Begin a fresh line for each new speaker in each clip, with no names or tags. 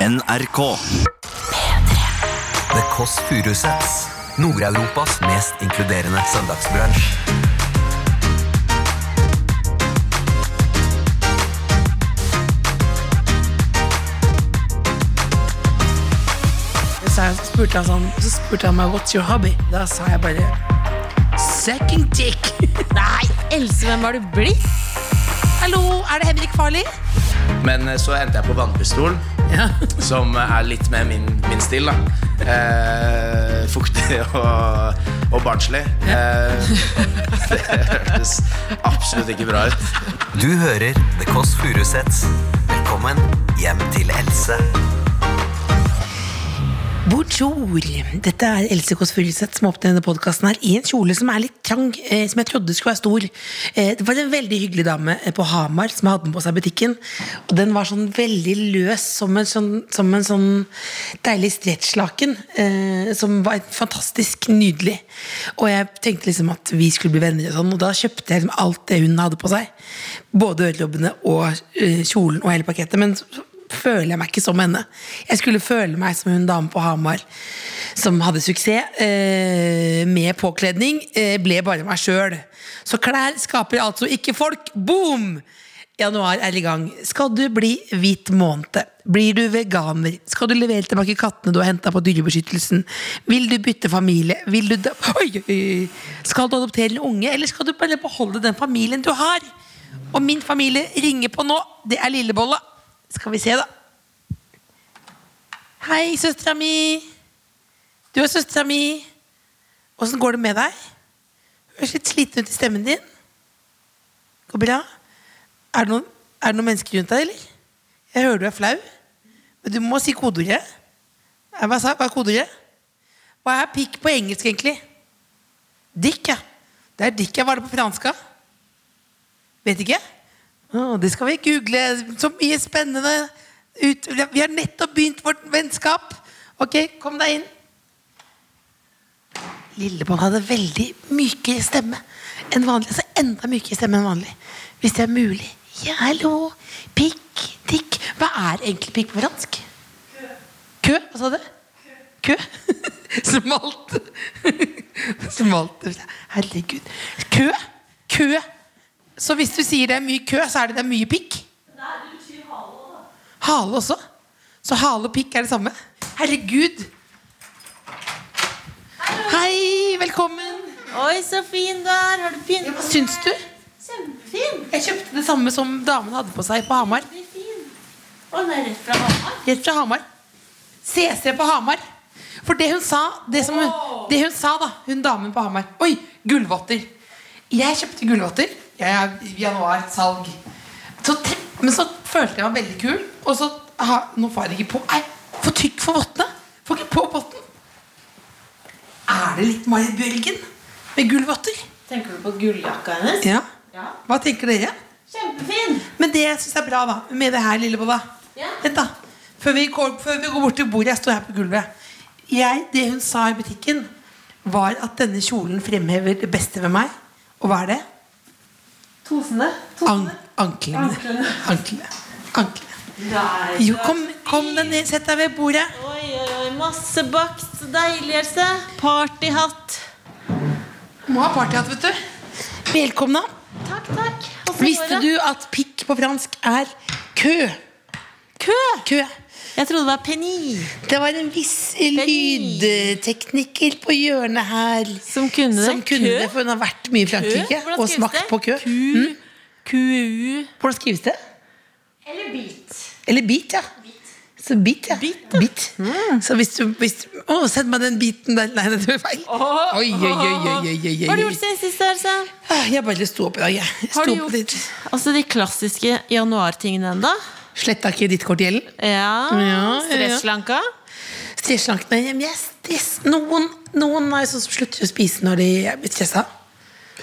NRK.
The Kåss Furuseths. Nord-Europas mest inkluderende søndagsbransj.
Så jeg spurte han sånn, så spurte han meg What's your hobby? Da sa jeg bare Sucking dick
Nei, Else, hvem har du blitt? Hallo, er det Henrik Farley?
Men eh, så endte jeg på vannpistolen, som er litt mer min, min stil. da eh, Fuktig og, og barnslig. Eh, det hørtes absolutt ikke bra ut.
Du hører The Kåss Furuseths. Velkommen hjem til Else.
Bonjour Dette er Else Kåss Furuseth som åpner denne podcasten her I en kjole som er litt trang eh, Som jeg trodde skulle være stor eh, Det var en veldig hyggelig dame eh, på Hamar Som hadde den på seg i butikken Og den var sånn veldig løs Som en sånn, som en sånn deilig stretchlaken eh, Som var fantastisk nydelig Og jeg tenkte liksom at vi skulle bli venner og sånn Og da kjøpte jeg liksom alt det hun hadde på seg Både ørelobbene og eh, kjolen og hele pakketet Men så- føler jeg meg ikke som henne. Jeg skulle føle meg som hun dame på Hamar som hadde suksess eh, med påkledning. Eh, ble bare meg sjøl. Så klær skaper altså ikke folk. Boom! Januar er i gang. Skal du bli hvit måned? Blir du veganer? Skal du levere tilbake kattene du har henta på Dyrebeskyttelsen? Vil du bytte familie? Vil du da oi, oi, oi. Skal du adoptere en unge, eller skal du bare beholde den familien du har? Og min familie ringer på nå. Det er Lillebolla. Skal vi se, da. Hei, søstera mi. Du er søstera mi. Åssen går det med deg? Høres litt sliten ut i stemmen din. Går bra? Er det noen, er det noen mennesker rundt deg, eller? Jeg hører du er flau. Men du må si kodeordet. Eh, Hva sa jeg? Hva er kodeordet? Hva er pikk på engelsk, egentlig? Dick, ja. Det er dick jeg var det på fransk. ja. Vet ikke. Å, det skal vi google. Så mye spennende. Ut. Vi har nettopp begynt vårt vennskap. Ok, kom deg inn. Lilleboll hadde veldig mykere stemme enn vanlig. Altså enda mykere stemme enn vanlig. Hvis det er mulig. Ja, hallo. Pikk, tikk. Hva er egentlig pikk på fransk? Kø. Hva sa du? Kø. Smalt. Smalt. Herregud. Kø. Kø. Så hvis du sier det er mye kø, så er det det er mye pikk? Hale også? Så hale og pikk er det samme? Herregud. Hei, velkommen.
Oi, så fin du er. Har du pyntet
Hva syns du?
Kjempefin.
Jeg kjøpte det samme som damen hadde på seg på Hamar.
Veldig fin. Å, den er rett fra Hamar.
Rett fra Hamar. CC på Hamar. For det hun sa, det som hun, det hun sa da, hun damen på Hamar Oi, gullvotter. Jeg kjøpte gullvotter. Jeg er januarsalg. Så, te- men så følte jeg meg veldig kul. Og så ha, Nå får jeg det ikke på. Nei, for tykk for vottene. Får ikke på votten. Er det litt Marit Bjørgen med gullvotter?
Tenker du på gulljakka hennes?
Ja.
Ja.
Hva tenker dere?
Kjempefin.
Men det jeg syns er bra, da, med det her, Lillebolla
Ja.
Vent, da. Før vi, går, før vi går bort til bordet. Jeg står her på gulvet. Jeg, det hun sa i butikken, var at denne kjolen fremhever det beste ved meg. Og hva er det?
Tosene.
An anklene. Anklene. Anklene.
Nei.
Jo, kom, kom deg ned. Sett deg ved bordet.
Oi, oi, oi. Masse bakst. Så deilig, Else. Partyhatt.
Må ha partyhatt, vet du. Velkomna.
Takk, takk. Hvordan går
Visste
det?
du at pikk på fransk er kø? Kø? Kø.
Jeg trodde det var peni.
Det var en viss lydtekniker på hjørnet her.
Som kunne det.
Som kunne
Kø?
det, for hun har vært mye i Frankrike
Hvordan
og
skrives
smakt
det?
på kø. Mm.
QU.
Hvordan skrives det?
Eller bit.
Eller bit, ja. Så bit, ja.
Bit, ja. Mm.
Bit. Så hvis du, hvis du Å, send meg den biten der. Nei, det ble feil. Oi, oi, oi, oi, oi, oi,
Hva har du
oi.
gjort siden sist, Else?
Ah, Jeg bare sto opp i dag, jeg.
Har du
Sto opp
gjort
litt.
altså, de klassiske januartingene ennå?
Sletta kredittkortgjelden.
Ja.
Ja, ja, ja.
Stresslanka?
Stresslankt nei, men jeg stress. Noen, noen er jo sånn som slutter å spise når de er blitt stressa.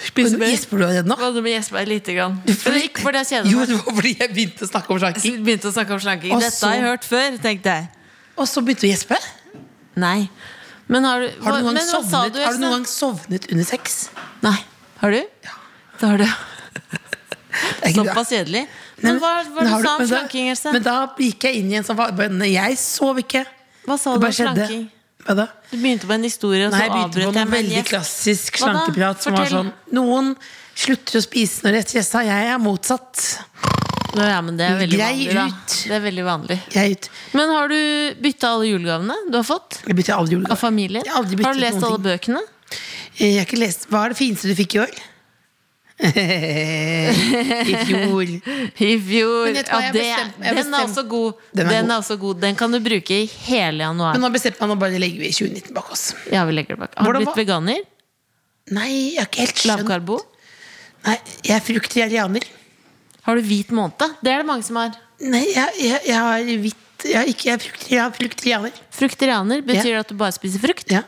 Gjesper du allerede nå?
Hva du med Jesper lite grann? Men ikke fordi jeg
Jo,
kjeder meg.
det var fordi jeg begynte å snakke om slanking.
Begynte å snakke om slanking.
Og
Dette
så-
har jeg hørt før, tenkte jeg.
Og så begynte du å gjespe.
Nei. Men har du,
Har du
hva-
noen
men
gang
hva sa
sovnet, har du
Else?
noen gang sovnet under sex?
Nei. Har du? Det har du.
Det er ikke bra.
Såpass kjedelig.
Nei,
Men hva- hva
men
du
har
sa om
men da-
slanking, Else?
Men da gikk jeg inn i en sånn fa- bønne. Jeg sov ikke.
Hva sa
Det
du
bare
om
skjedde.
slanking?
Hva da?
Du begynte på en historie, og
Nei,
så
jeg begynte på
avbrøt
noe
jeg med en
veldig
gjest.
klassisk
Hva da?
slankeprat som var
Fortell.
sånn Noen slutter å spise når de er stressa. Jeg er motsatt.
Nå, Ja, men det er veldig
Grei
vanlig, da.
ut.
Det er veldig vanlig.
Jeg, er ut.
Men har du bytta alle julegavene du har fått?
jeg bytter aldri
Av
julegave.
familien?
Jeg har aldri byttet
du lest
noen
alle
ting.
bøkene?
Jeg har ikke lest Hva er det fineste du fikk i år? I fjor.
I fjor.
Men vet du hva,
Ja,
jeg
det,
bestem- jeg
den er
bestem-
også god.
Den er
Den
god.
er også god. Den kan du bruke i hele
Men
januar.
nå bestemte man å bare legge 2019 bak oss.
Ja, vi legger det bak. Har du
Hvordan
blitt
var-
veganer?
Nei, jeg har ikke helt skjønt.
Lavkarbo?
Nei, jeg er fruktarianer.
Har du hvit måned? Det er det mange som har.
Nei, jeg, jeg, jeg har hvitt Jeg har ikke jeg er fruktari- jeg er fruktarianer.
Fruktarianer betyr at du bare spiser frukt.
Ja.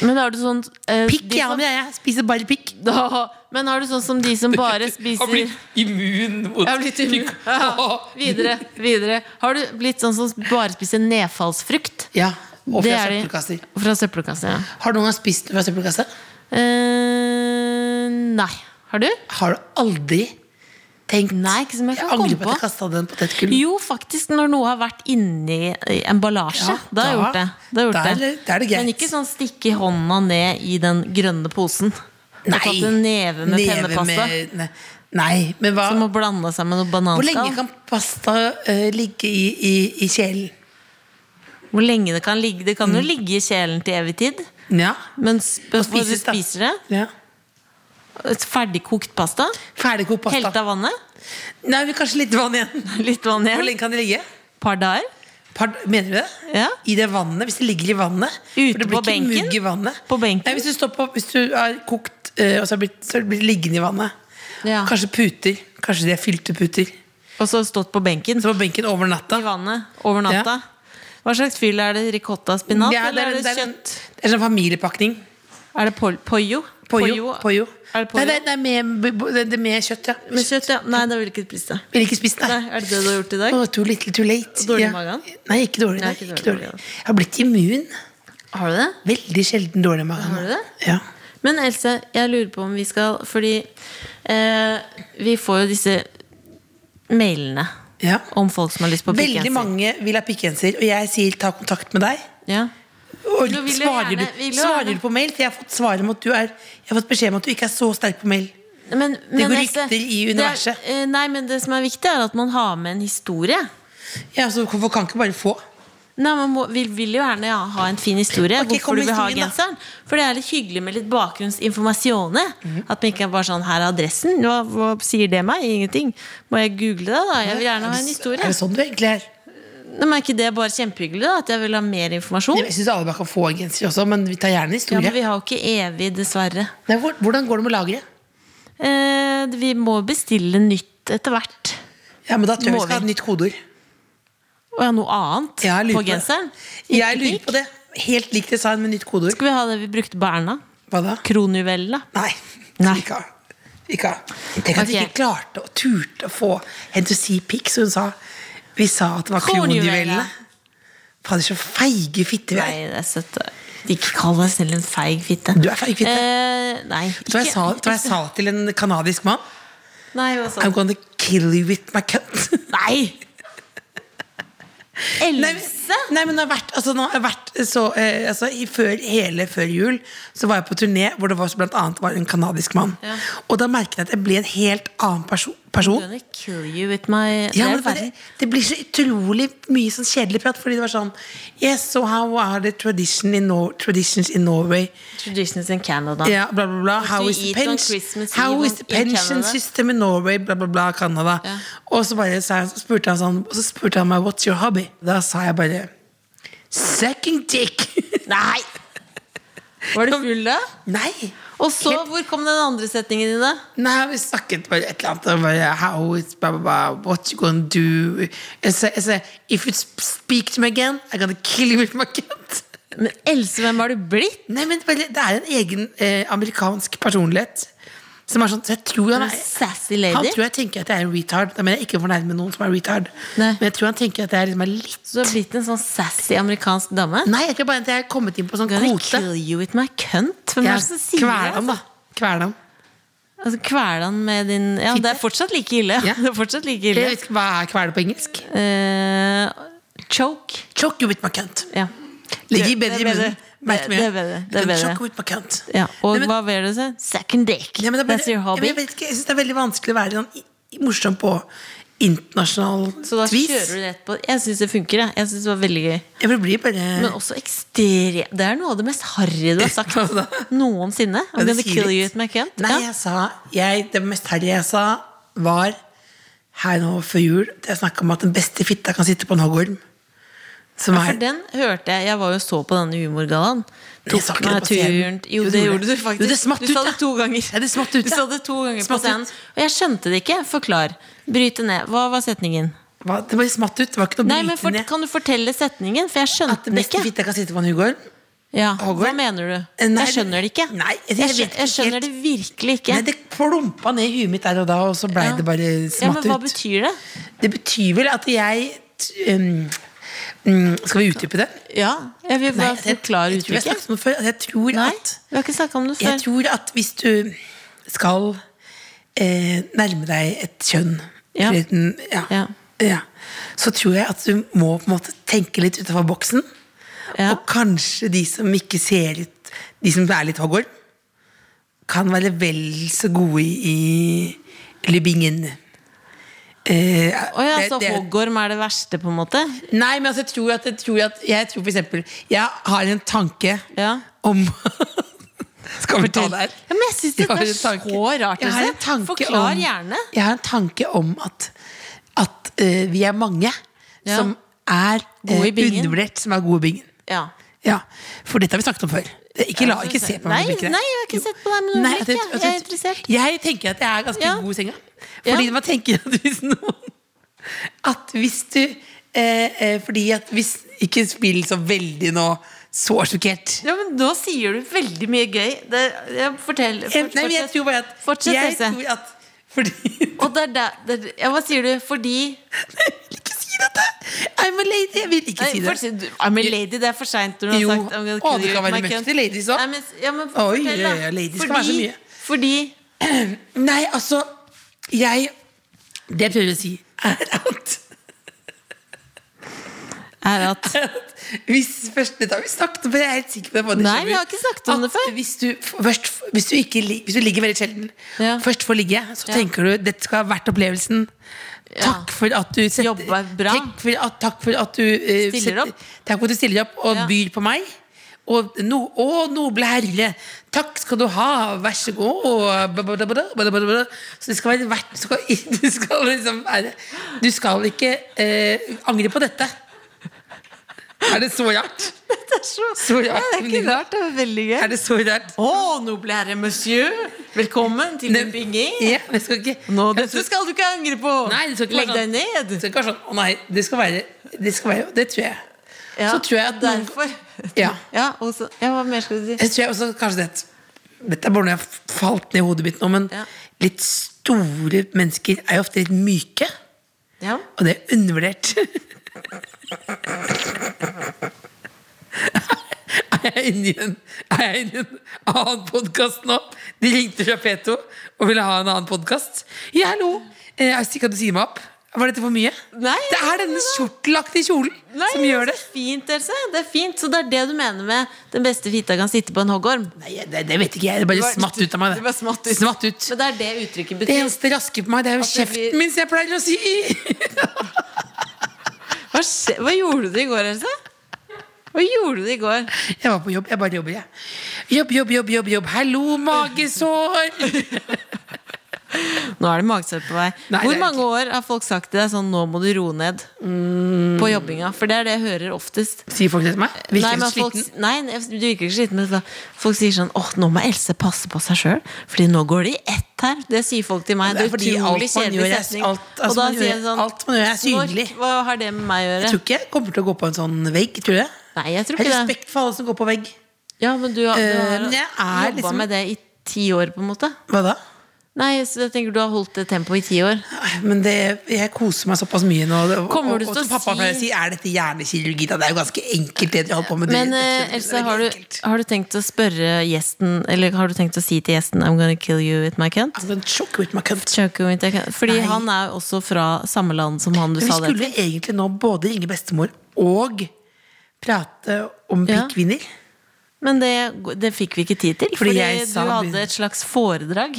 Men har du sånn eh, de som-
Pikkianer er jeg. Spiser bare pikk.
da, Men har du sånn som de som bare spiser
immun mot
Jeg har blitt immun. Ja, videre, videre. Har du blitt sånn som bare spiser nedfallsfrukt?
Ja, og
Det
fra
er de.
søppelkasser.
Og Fra søppelkassa, ja.
Har du noen gang spist fra søppelkasse?
Eh, nei. Har du?
Har du aldri tenkt
Nei, ikke som jeg kan
angrer
komme
på at jeg
på.
kasta den potetgullen.
Jo, faktisk, når noe har vært inni emballasje.
Ja,
da har
da-
jeg gjort det. Da har jeg
da er
gjort det.
det- da er det greit.
Men ikke sånn stikke hånda ned i den grønne posen.
Nei.
Nei. Tatt en neve med pennepasta
med- ne- Nei, men hva
som å blande seg med noe
Hvor
bananskall.
lenge kan pasta eh, ligge i, i, i kjelen?
Hvor lenge det kan ligge. Det
Mm.
kan jo ligge i kjelen til evig tid.
Ja.
Men spør hva du
spises, da.
spiser det.
ja.
Et Ferdigkokt pasta.
Ferdigkokt pasta.
Helt av vannet.
Nei, vi kanskje litt vann igjen.
Litt vann
Hvor
igjen.
lenge kan det ligge?
Par dager.
Par, mener du det?
Ja.
I det vannet, hvis det ligger i vannet?
Ute
for det
på
blir ikke
benken?
mugg i vannet.
På benken?
Nei, hvis du, står på, hvis du har kokt eh, og så har blitt, så har det blitt liggende i vannet.
Ja.
Kanskje puter. Kanskje de er fylte puter.
Og så stått på benken.
Så på benken over
I
natta.
vannet over natta. Hva slags fyll er det? Ricotta spinat?
Ja,
eller er det
en-
kjøtt?
det er sånn familiepakning.
Er det pol pollo?
Pollo. Pollo.
Er
Nei,
det pollo?
det er, det, er med, det er med kjøtt, ja.
Med kjøtt, ja. Nei, det vil ikke spise det.
Vil ikke spise det.
Nei, er det det du har gjort i dag?
Åh, too little, too late.
Og dårlig i magen?
Nei, ikke dårlig. Nei,
Nei, ikke
ikke
dårlig,
dårlig. Jeg har blitt immun.
Har du det?
Veldig sjelden dårlig i magen.
Har du det?
Ja.
Men Else, jeg lurer på om vi skal Fordi eh, vi får jo disse mailene
ja.
om folk som har lyst på pikk
Veldig mange vil ha pikkgenser, og jeg sier ta kontakt med deg.
Ja.
Og
Jo, vil jo
svarer,
gjerne- vil
du,
jo
svarer
gjerne.
du på mail? For jeg har fått svar om at du er Jeg har fått beskjed om at du ikke er så sterk på mail.
Men, men
går
Else,
rykter i
det er-
universet.
eh, nei, men det som er viktig, er at man har med en historie.
Ja, så Hvorfor kan ikke bare få?
Nei, man må, Vi vil jo gjerne ja, ha en fin historie.
Ok, kom
hvorfor du vil ha
historien, da.
genseren. For det er litt hyggelig med litt bakgrunnsinformasjon.
Mhm.
At man ikke bare sånn 'Her er adressen'. Hva, hva sier det meg? Ingenting. Må jeg google det, da? Jeg vil gjerne ha en historie.
Er det sånn du egentlig er?
Nei, men er ikke det bare kjempehyggelig, da? At jeg vil ha mer informasjon?
Jeg syns alle bare kan få en genser også, men vi tar gjerne
Ja,
historie.
men vi har jo ikke evig, dessverre.
Nei, hvor- hvordan går det med lageret?
Eh, vi må bestille nytt etter hvert.
Ja, men da tror jeg
Må
vi skal ha
vi?
et nytt kodeord.
Og ja, noe annet
Ja, jeg lurer
på
på det.
genseren.
Jeg
Ikke
lurer på det. Helt likt design med nytt kodeord.
Skal vi ha det vi brukte på Erna?
Hva da?
Kronjuvelen, da?
Nei.
Nei.
Ikke ha. Ikke ha. Tenk at vi
Ok.
ikke klarte og turte å få henne til å si pikk, så hun sa Vi sa at det var
Kronjuvelene.
kronjuvelene. Fader, så feige fitte vi er.
Nei, det er søtt. Ikke kall deg selv en feig fitte.
Du er feig fitte.
Eh, nei.
Vet du hva jeg sa, vet du hva jeg sa til en kanadisk mann?
Nei, hva sa
I'm
du?
gonna kill you with my cunt.
Nei!
Nei,
Else!
men- nei, men det har vært, altså, nå har jeg vært så, eh, altså, i, før, Hele før jul Så var jeg på turné hvor det var, så blant annet var en kanadisk mann.
Ja.
Og da merket jeg at jeg ble en helt annen perso person.
Gonna kill you with my
Ja,
Det
men
er
det, bare,
verre.
det blir så utrolig mye sånn kjedelig prat, fordi det var sånn Yes, so how are the tradition in Nor traditions in Norway?
Traditions in Canada.
Ja, bla, bla, bla. How
you
is the,
eat on
pension-
Christmas
how
Eve
is
on-
the
in
pension
Canada?
system in Norway? Bla, bla, bla, Canada.
Ja.
Og så bare sa jeg, så spurte han sånn Og så spurte han meg What's your hobby? Da sa jeg bare Sucking dick!
Nei! Var du full da?
Nei!
Og så,
Helt-
hvor kom den andre setningen din, da?
Nei, vi snakket bare et eller annet og bare, How is blah, blah, blah, What you gonna do? Jeg sa, jeg sa, If you sp- speak to me again, I'm gonna kill you with my cat.
Men Else, hvem har du blitt?
Nei, men bare, Det er en egen eh, amerikansk personlighet. Som er sånn, så jeg tror han
En
er
sassy
Han
lady?
tror jeg tenker at jeg er en retard. Da mener jeg ikke å fornærme noen som er retard.
Nei.
Men jeg tror han tenker at jeg liksom er litt
Så du har blitt en sånn sassy amerikansk dame?
Nei, jeg tror bare at jeg er kommet inn på sånn
Gonna
kvote.
kill you with my cunt? Hvem er det altså? som
Jeg
sier det?
kveler ham, da. Kveler ham.
Altså, Kvele han med din Ja, det er fortsatt like ille.
Ja.
Det er fortsatt like ille.
Jeg vet ikke, Hva er kvele på engelsk?
Eh, choke.
Choke you with my cunt.
Ja.
Ligger
Det-
bedre
det
i
er
munnen.
bedre.
Merk
Det-
mer.
det er bedre, det er
You can
bedre.
Choke you with my cunt.
ja. Og
Nei, men-
hva var det du sa? Second dick.
Ja, men det er bare-
That's your
Ja, men
hobby.
Jeg, vet ikke, jeg synes det er veldig vanskelig å være sånn i- i- morsom på internasjonalt
Så da
vis.
kjører du rett på Jeg syns det funker. Jeg, jeg synes det var veldig gøy
Jeg blir bare
Men også ekstrem Det er noe av det mest harry du har sagt
Hva da?
noensinne. I'm
Ja, det
gonna
sier
kill
litt.
you with my cunt.
Nei,
ja.
jeg sa jeg, Det mest herlige jeg sa, var her nå før jul da Jeg snakka om at den beste fitta kan sitte på en hoggorm. Som
For
er
den hørte jeg Jeg var jo og så på denne humorgallaen.
Men jeg sa ikke
Tok
det
meg
på
turen
scenen.
Jo, det gjorde du faktisk.
Jo, det smatt
du
ut,
sa
ja.
det to ganger.
Ja, det smatt ut,
du
ja.
sa det to ganger på
Smatt ut.
scenen. Og jeg skjønte det ikke. Forklar. Bryt det ned. Hva var setningen?
Hva, Det bare smatt ut. Det var ikke noe
Nei, men
brytende.
for, Kan du fortelle setningen? For jeg
At
skjønte
den
den
beste
ikke.
fitta kan sitte på en hoggorm?
Ja, Hva
Hogwarts?
mener du?
Eh, nei,
jeg skjønner det ikke.
nei, jeg
jeg, skjø-
vet ikke
jeg skjønner det
helt.
virkelig ikke.
Nei, det plumpa ned i huet mitt der og da, og så blei
Ja.
det bare
ja, men
smatt ut.
hva betyr det?
Det betyr vel at jeg t- um, mm, Skal vi utdype det?
Ja, jeg vil bare
jeg, jeg
forklare
tror jeg
uttrykket.
snakket om det før. at Jeg tror
Nei,
at
vi har ikke snakka om det
Jeg
før.
tror at hvis du skal eh, nærme deg et kjønn
Ja.
eller en- ja,
Ja.
ja. Så tror jeg at du må på en måte tenke litt utenfor boksen.
Ja.
Og kanskje de som ikke ser litt De som er litt hoggorm, kan være vel så gode i, i lybbingen. Eh,
Å ja,
det-
så
det-
hoggorm er det verste, på en måte?
Nei, men altså, jeg tror at, jeg tror at Jeg tror for eksempel Jeg har en tanke
Ja.
om Skal vi ta det her?
Ja, men jeg syns
Jeg
dette
har
er
en tanke.
så rart.
Jeg har en
Else.
tanke
Forklar
om-
gjerne.
Jeg har en tanke om at, at eh, vi er mange
Ja.
som er eh,
Gode i bingen.
undervurdert, som er gode i bingen.
Ja.
Ja, For dette har vi snakket om før. Det- Ikke, la,
Ja,
ikke se på
nei,
meg med blikket der.
nei, jeg har ikke
Jo.
sett på deg med noe
Nei,
blikk,
at
jeg.
at
Jeg er interessert.
Jeg tenker at jeg er ganske
Ja.
god i senga.
Ja.
Fordi man tenker at hvis noen At hvis du eh, eh, Fordi at hvis Ikke spill så veldig nå, så sjokkert.
Ja, men Nå sier du veldig mye gøy. Det, jeg, fortell.
Jeg, Eh, nei, men jeg
fortsett.
tror bare at
Fortsett,
jeg
Else.
tror at, Fordi
Og det er der, det er- ja, hva sier du? Fordi
Jeg vil ikke si dette! I'm a lady! Jeg vil ikke
Nei,
si det.
fortsett. Du- I'm a lady, det er for seint. Jo,
Jo,
sagt, I'm gonna kill
å, det
you
kan være
with my
møkk
cunt.
til ladies også.
Nei, men, ja, men,
Oi,
fortell da.
ja, ja, ladies kan være så mye.
Fordi
Nei, altså Jeg Det jeg prøver å si, er at,
er at
at Hvis først Dette har vi snakket om, for jeg er helt sikker på det. var det
Nei,
skjønner.
vi har ikke snakket om
At
det før.
Hvis du, først, hvis, du ikke, lig- hvis du ligger veldig sjelden,
Ja.
først får ligge, så
Ja.
tenker du dette skal ha vært opplevelsen. Takk for at du setter,
Jobba bra.
Takk for at, takk for at du eh,
Stiller
setter-
opp.
Takk for at du stiller opp og
Ja.
byr på meg. Og no, å, noble herre, takk skal du ha, vær så god. Og bla, bla, bla, bla, bla, bla, bla. Så det skal være verdt Du skal, du skal liksom er, Du skal ikke eh, angre på dette. Er det så rart? Så rart.
Nei, Det er ikke rart, det er veldig gøy.
Er det så rart?
Å, noble herre monsieur, velkommen til
Nei,
min bygging.
Ja, men jeg skal ikke
Nå, dette skal du ikke angre på.
Nei, det skal ikke
Legg
være
deg ned.
Det skal ikke være sånn, å nei, det skal være Det, skal være, det tror jeg.
Ja,
så tror jeg at noen-
Derfor.
Ja.
Ja, og så, ja, hva mer skal du si?
Jeg tror jeg også kanskje det Dette er bare noe jeg har falt ned i hodet mitt nå, men
Ja.
litt store mennesker er jo ofte litt myke.
Ja.
Og det er undervurdert. Er jeg inne i en, er jeg inne i en annen podkast nå? De ringte fra P2 og ville ha en annen podkast. Ja, hallo! Eh, Jeg visste ikke at du sier meg opp. Var dette for mye?
Nei,
det er denne kjortelaktige kjolen
Nei,
som gjør det.
er Fint, Else. Det er fint. Så det er det du mener med 'den beste fitta kan sitte på en hoggorm'?
Nei, det, det vet ikke jeg. Det bare
var-
smatt ut av meg.
Det bare smatt ut.
Smatt ut.
Men det er det uttrykket
Det
betyr.
eneste raske på meg, det er jo
At det
kjeften
blir-
min, som jeg pleier å si.
Hva, skje, hva gjorde du i går, Else? Hva gjorde du i går?
Jeg var på jobb. Jeg bare jobber, jeg. Jobb, jobb, jobb, jobb. jobb. Hallo, magesår!
Nå er det magesår på vei.
Nei, det
Hvor
er
mange år har folk sagt til deg sånn 'nå må du roe ned'
Mm.
på jobbinga? For det er det jeg hører oftest.
Sier folk det til meg?
Nei,
Virker
men
du
folk,
sliten?
nei, du virker ikke sliten, men så- folk sier sånn 'Å, nå må Else passe på seg sjøl', Fordi nå går det i ett her. Det sier folk til meg.
Det er
Det er
fordi alt
utrolig
man gjør
kjedelig
er-
setning.
alt- altså,
Og da
man gjør-
sier jeg sånn
alt man gjør er
«Snork,
synlig».
Hva har det med meg å
Jeg
gjøre?
tror ikke jeg kommer til å gå på en sånn vegg. Tror du det?
Nei, jeg tror
Jeg har
ikke det.
respekt for alle som går på vegg.
Ja, men du, har- du
Eh,
har
men jeg er
jobba
liksom-
med det i ti år, på en måte.
Hva da?
Nei, så jeg tenker du har holdt det tempoet i ti år.
Men det, jeg koser meg såpass mye nå. og-
Kommer du
og, og,
til
som
å
pappa
si-
pleier å si, er dette hjernekirurgi? Da? Det er jo ganske enkelt, det dere holder på med.
Men
Det er
eh, Else,
veldig
har du,
enkelt.
har du tenkt å spørre gjesten Eller har du tenkt å si til gjesten I'm gonna kill you with my cunt?
I'm gonna choke with my cunt.
Choke you with my cunt? Fordi
Nei.
han er jo også fra samme land som han du
Men Vi
sa det
skulle egentlig nå både ringe bestemor og prate om
Ja.
pikkvinner.
Men det, det fikk vi ikke tid til, fordi,
jeg
du
sa-
hadde et slags foredrag.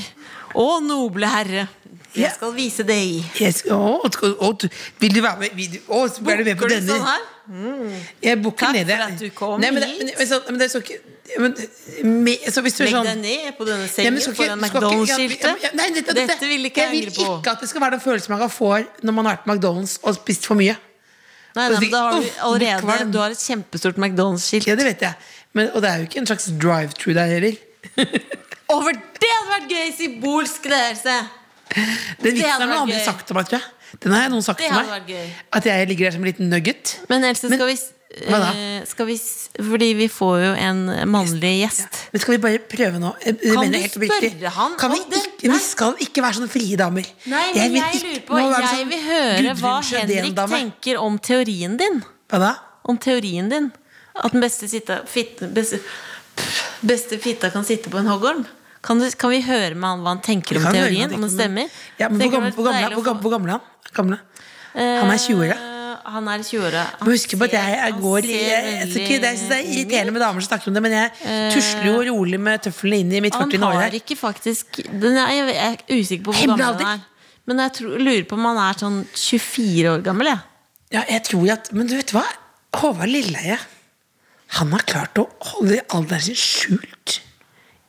Å, noble herre,
Ja.
jeg skal vise deg i.
Jeg skal, å, å, å, du- vil du være med? Vil du, å, så er du med på
Går det
denne?
sånn her?
Jeg bukker
Takk
ned det.
for at du kom
Nei, men, det-
hit.
Men, men, så, men det er så ikke men, me, så hvis du er
Legg
sånn,
deg ned på denne
Nei, men
sengen
skal ikke-
foran
skal ikke- ja, ja,
McDonald's-skiltet.
ja, nei, dette- dette-
Dette vil ikke jeg
Jeg vil
angre på.
ikke at det skal være den følelsen man får når man har vært på McDonald's og spist for mye.
Nei, nei, men da har du
Uff,
allerede
kvalm.
Du har et kjempestort McDonald's-skilt.
Ja, det vet jeg. Men, og det er jo ikke en slags drive-through der heller.
Over det hadde vært gøy! Symbolsk ledelse!
Den vitsen
hadde
har
vært
noen andre
gøy.
sagt til meg, tror jeg. Den har noen sagt
Det
til
hadde
meg.
vært gøy.
At jeg ligger der som en liten nugget.
Men Else,
Men-
skal vi,
Hva da?
eh, skal vi s- Fordi vi får jo en mannlig gjest.
Men skal vi bare prøve nå? Jeg- jeg
Kan
mener
du
helt oppriktig.
spørre han
Kan vi,
om det?
ikke, vi
Nei.
skal ikke være sånne frie damer.
Nei, men
vil
jeg
ikke-
lurer
nå
på
er det
Jeg
sånn
vil høre hva
Gudrun
Henrik
Sjødén-dame.
tenker om teorien din.
Hva da?
Om teorien din. At den beste, sitta, fitte, beste, pff, beste fitta kan sitte på en hoggorm. Kan, du, kan vi høre med han hva han tenker om
Kan høre
teorien?
han
Om det
tenker, men-
stemmer?
Ja, men hvor
Tenker det
gammel,
hadde
hvor,
vært
gammel,
deilig å
hvor, gammel,
få-
hvor gammel er han? Gamle. Han er 20 år, ja.
Eh, Han er 20 år, ja.
Men Husk på at jeg, jeg
Han
går
ser
i- jeg, jeg, tror ikke, det, jeg synes det er
veldig ung ut.
irriterende med damer som snakker om det, men jeg tusler jo rolig med tøflene inn i mitt
Han
40. år
har
her.
ikke faktisk den er, Jeg er usikker på hvor
Hemmelig
gammel
alder.
han er. Men jeg tror, lurer på om han er sånn 24 år gammel. Jeg.
Ja, jeg tror at, men du vet hva? Håvard Lilleheie Han har klart å holde alderen sin skjult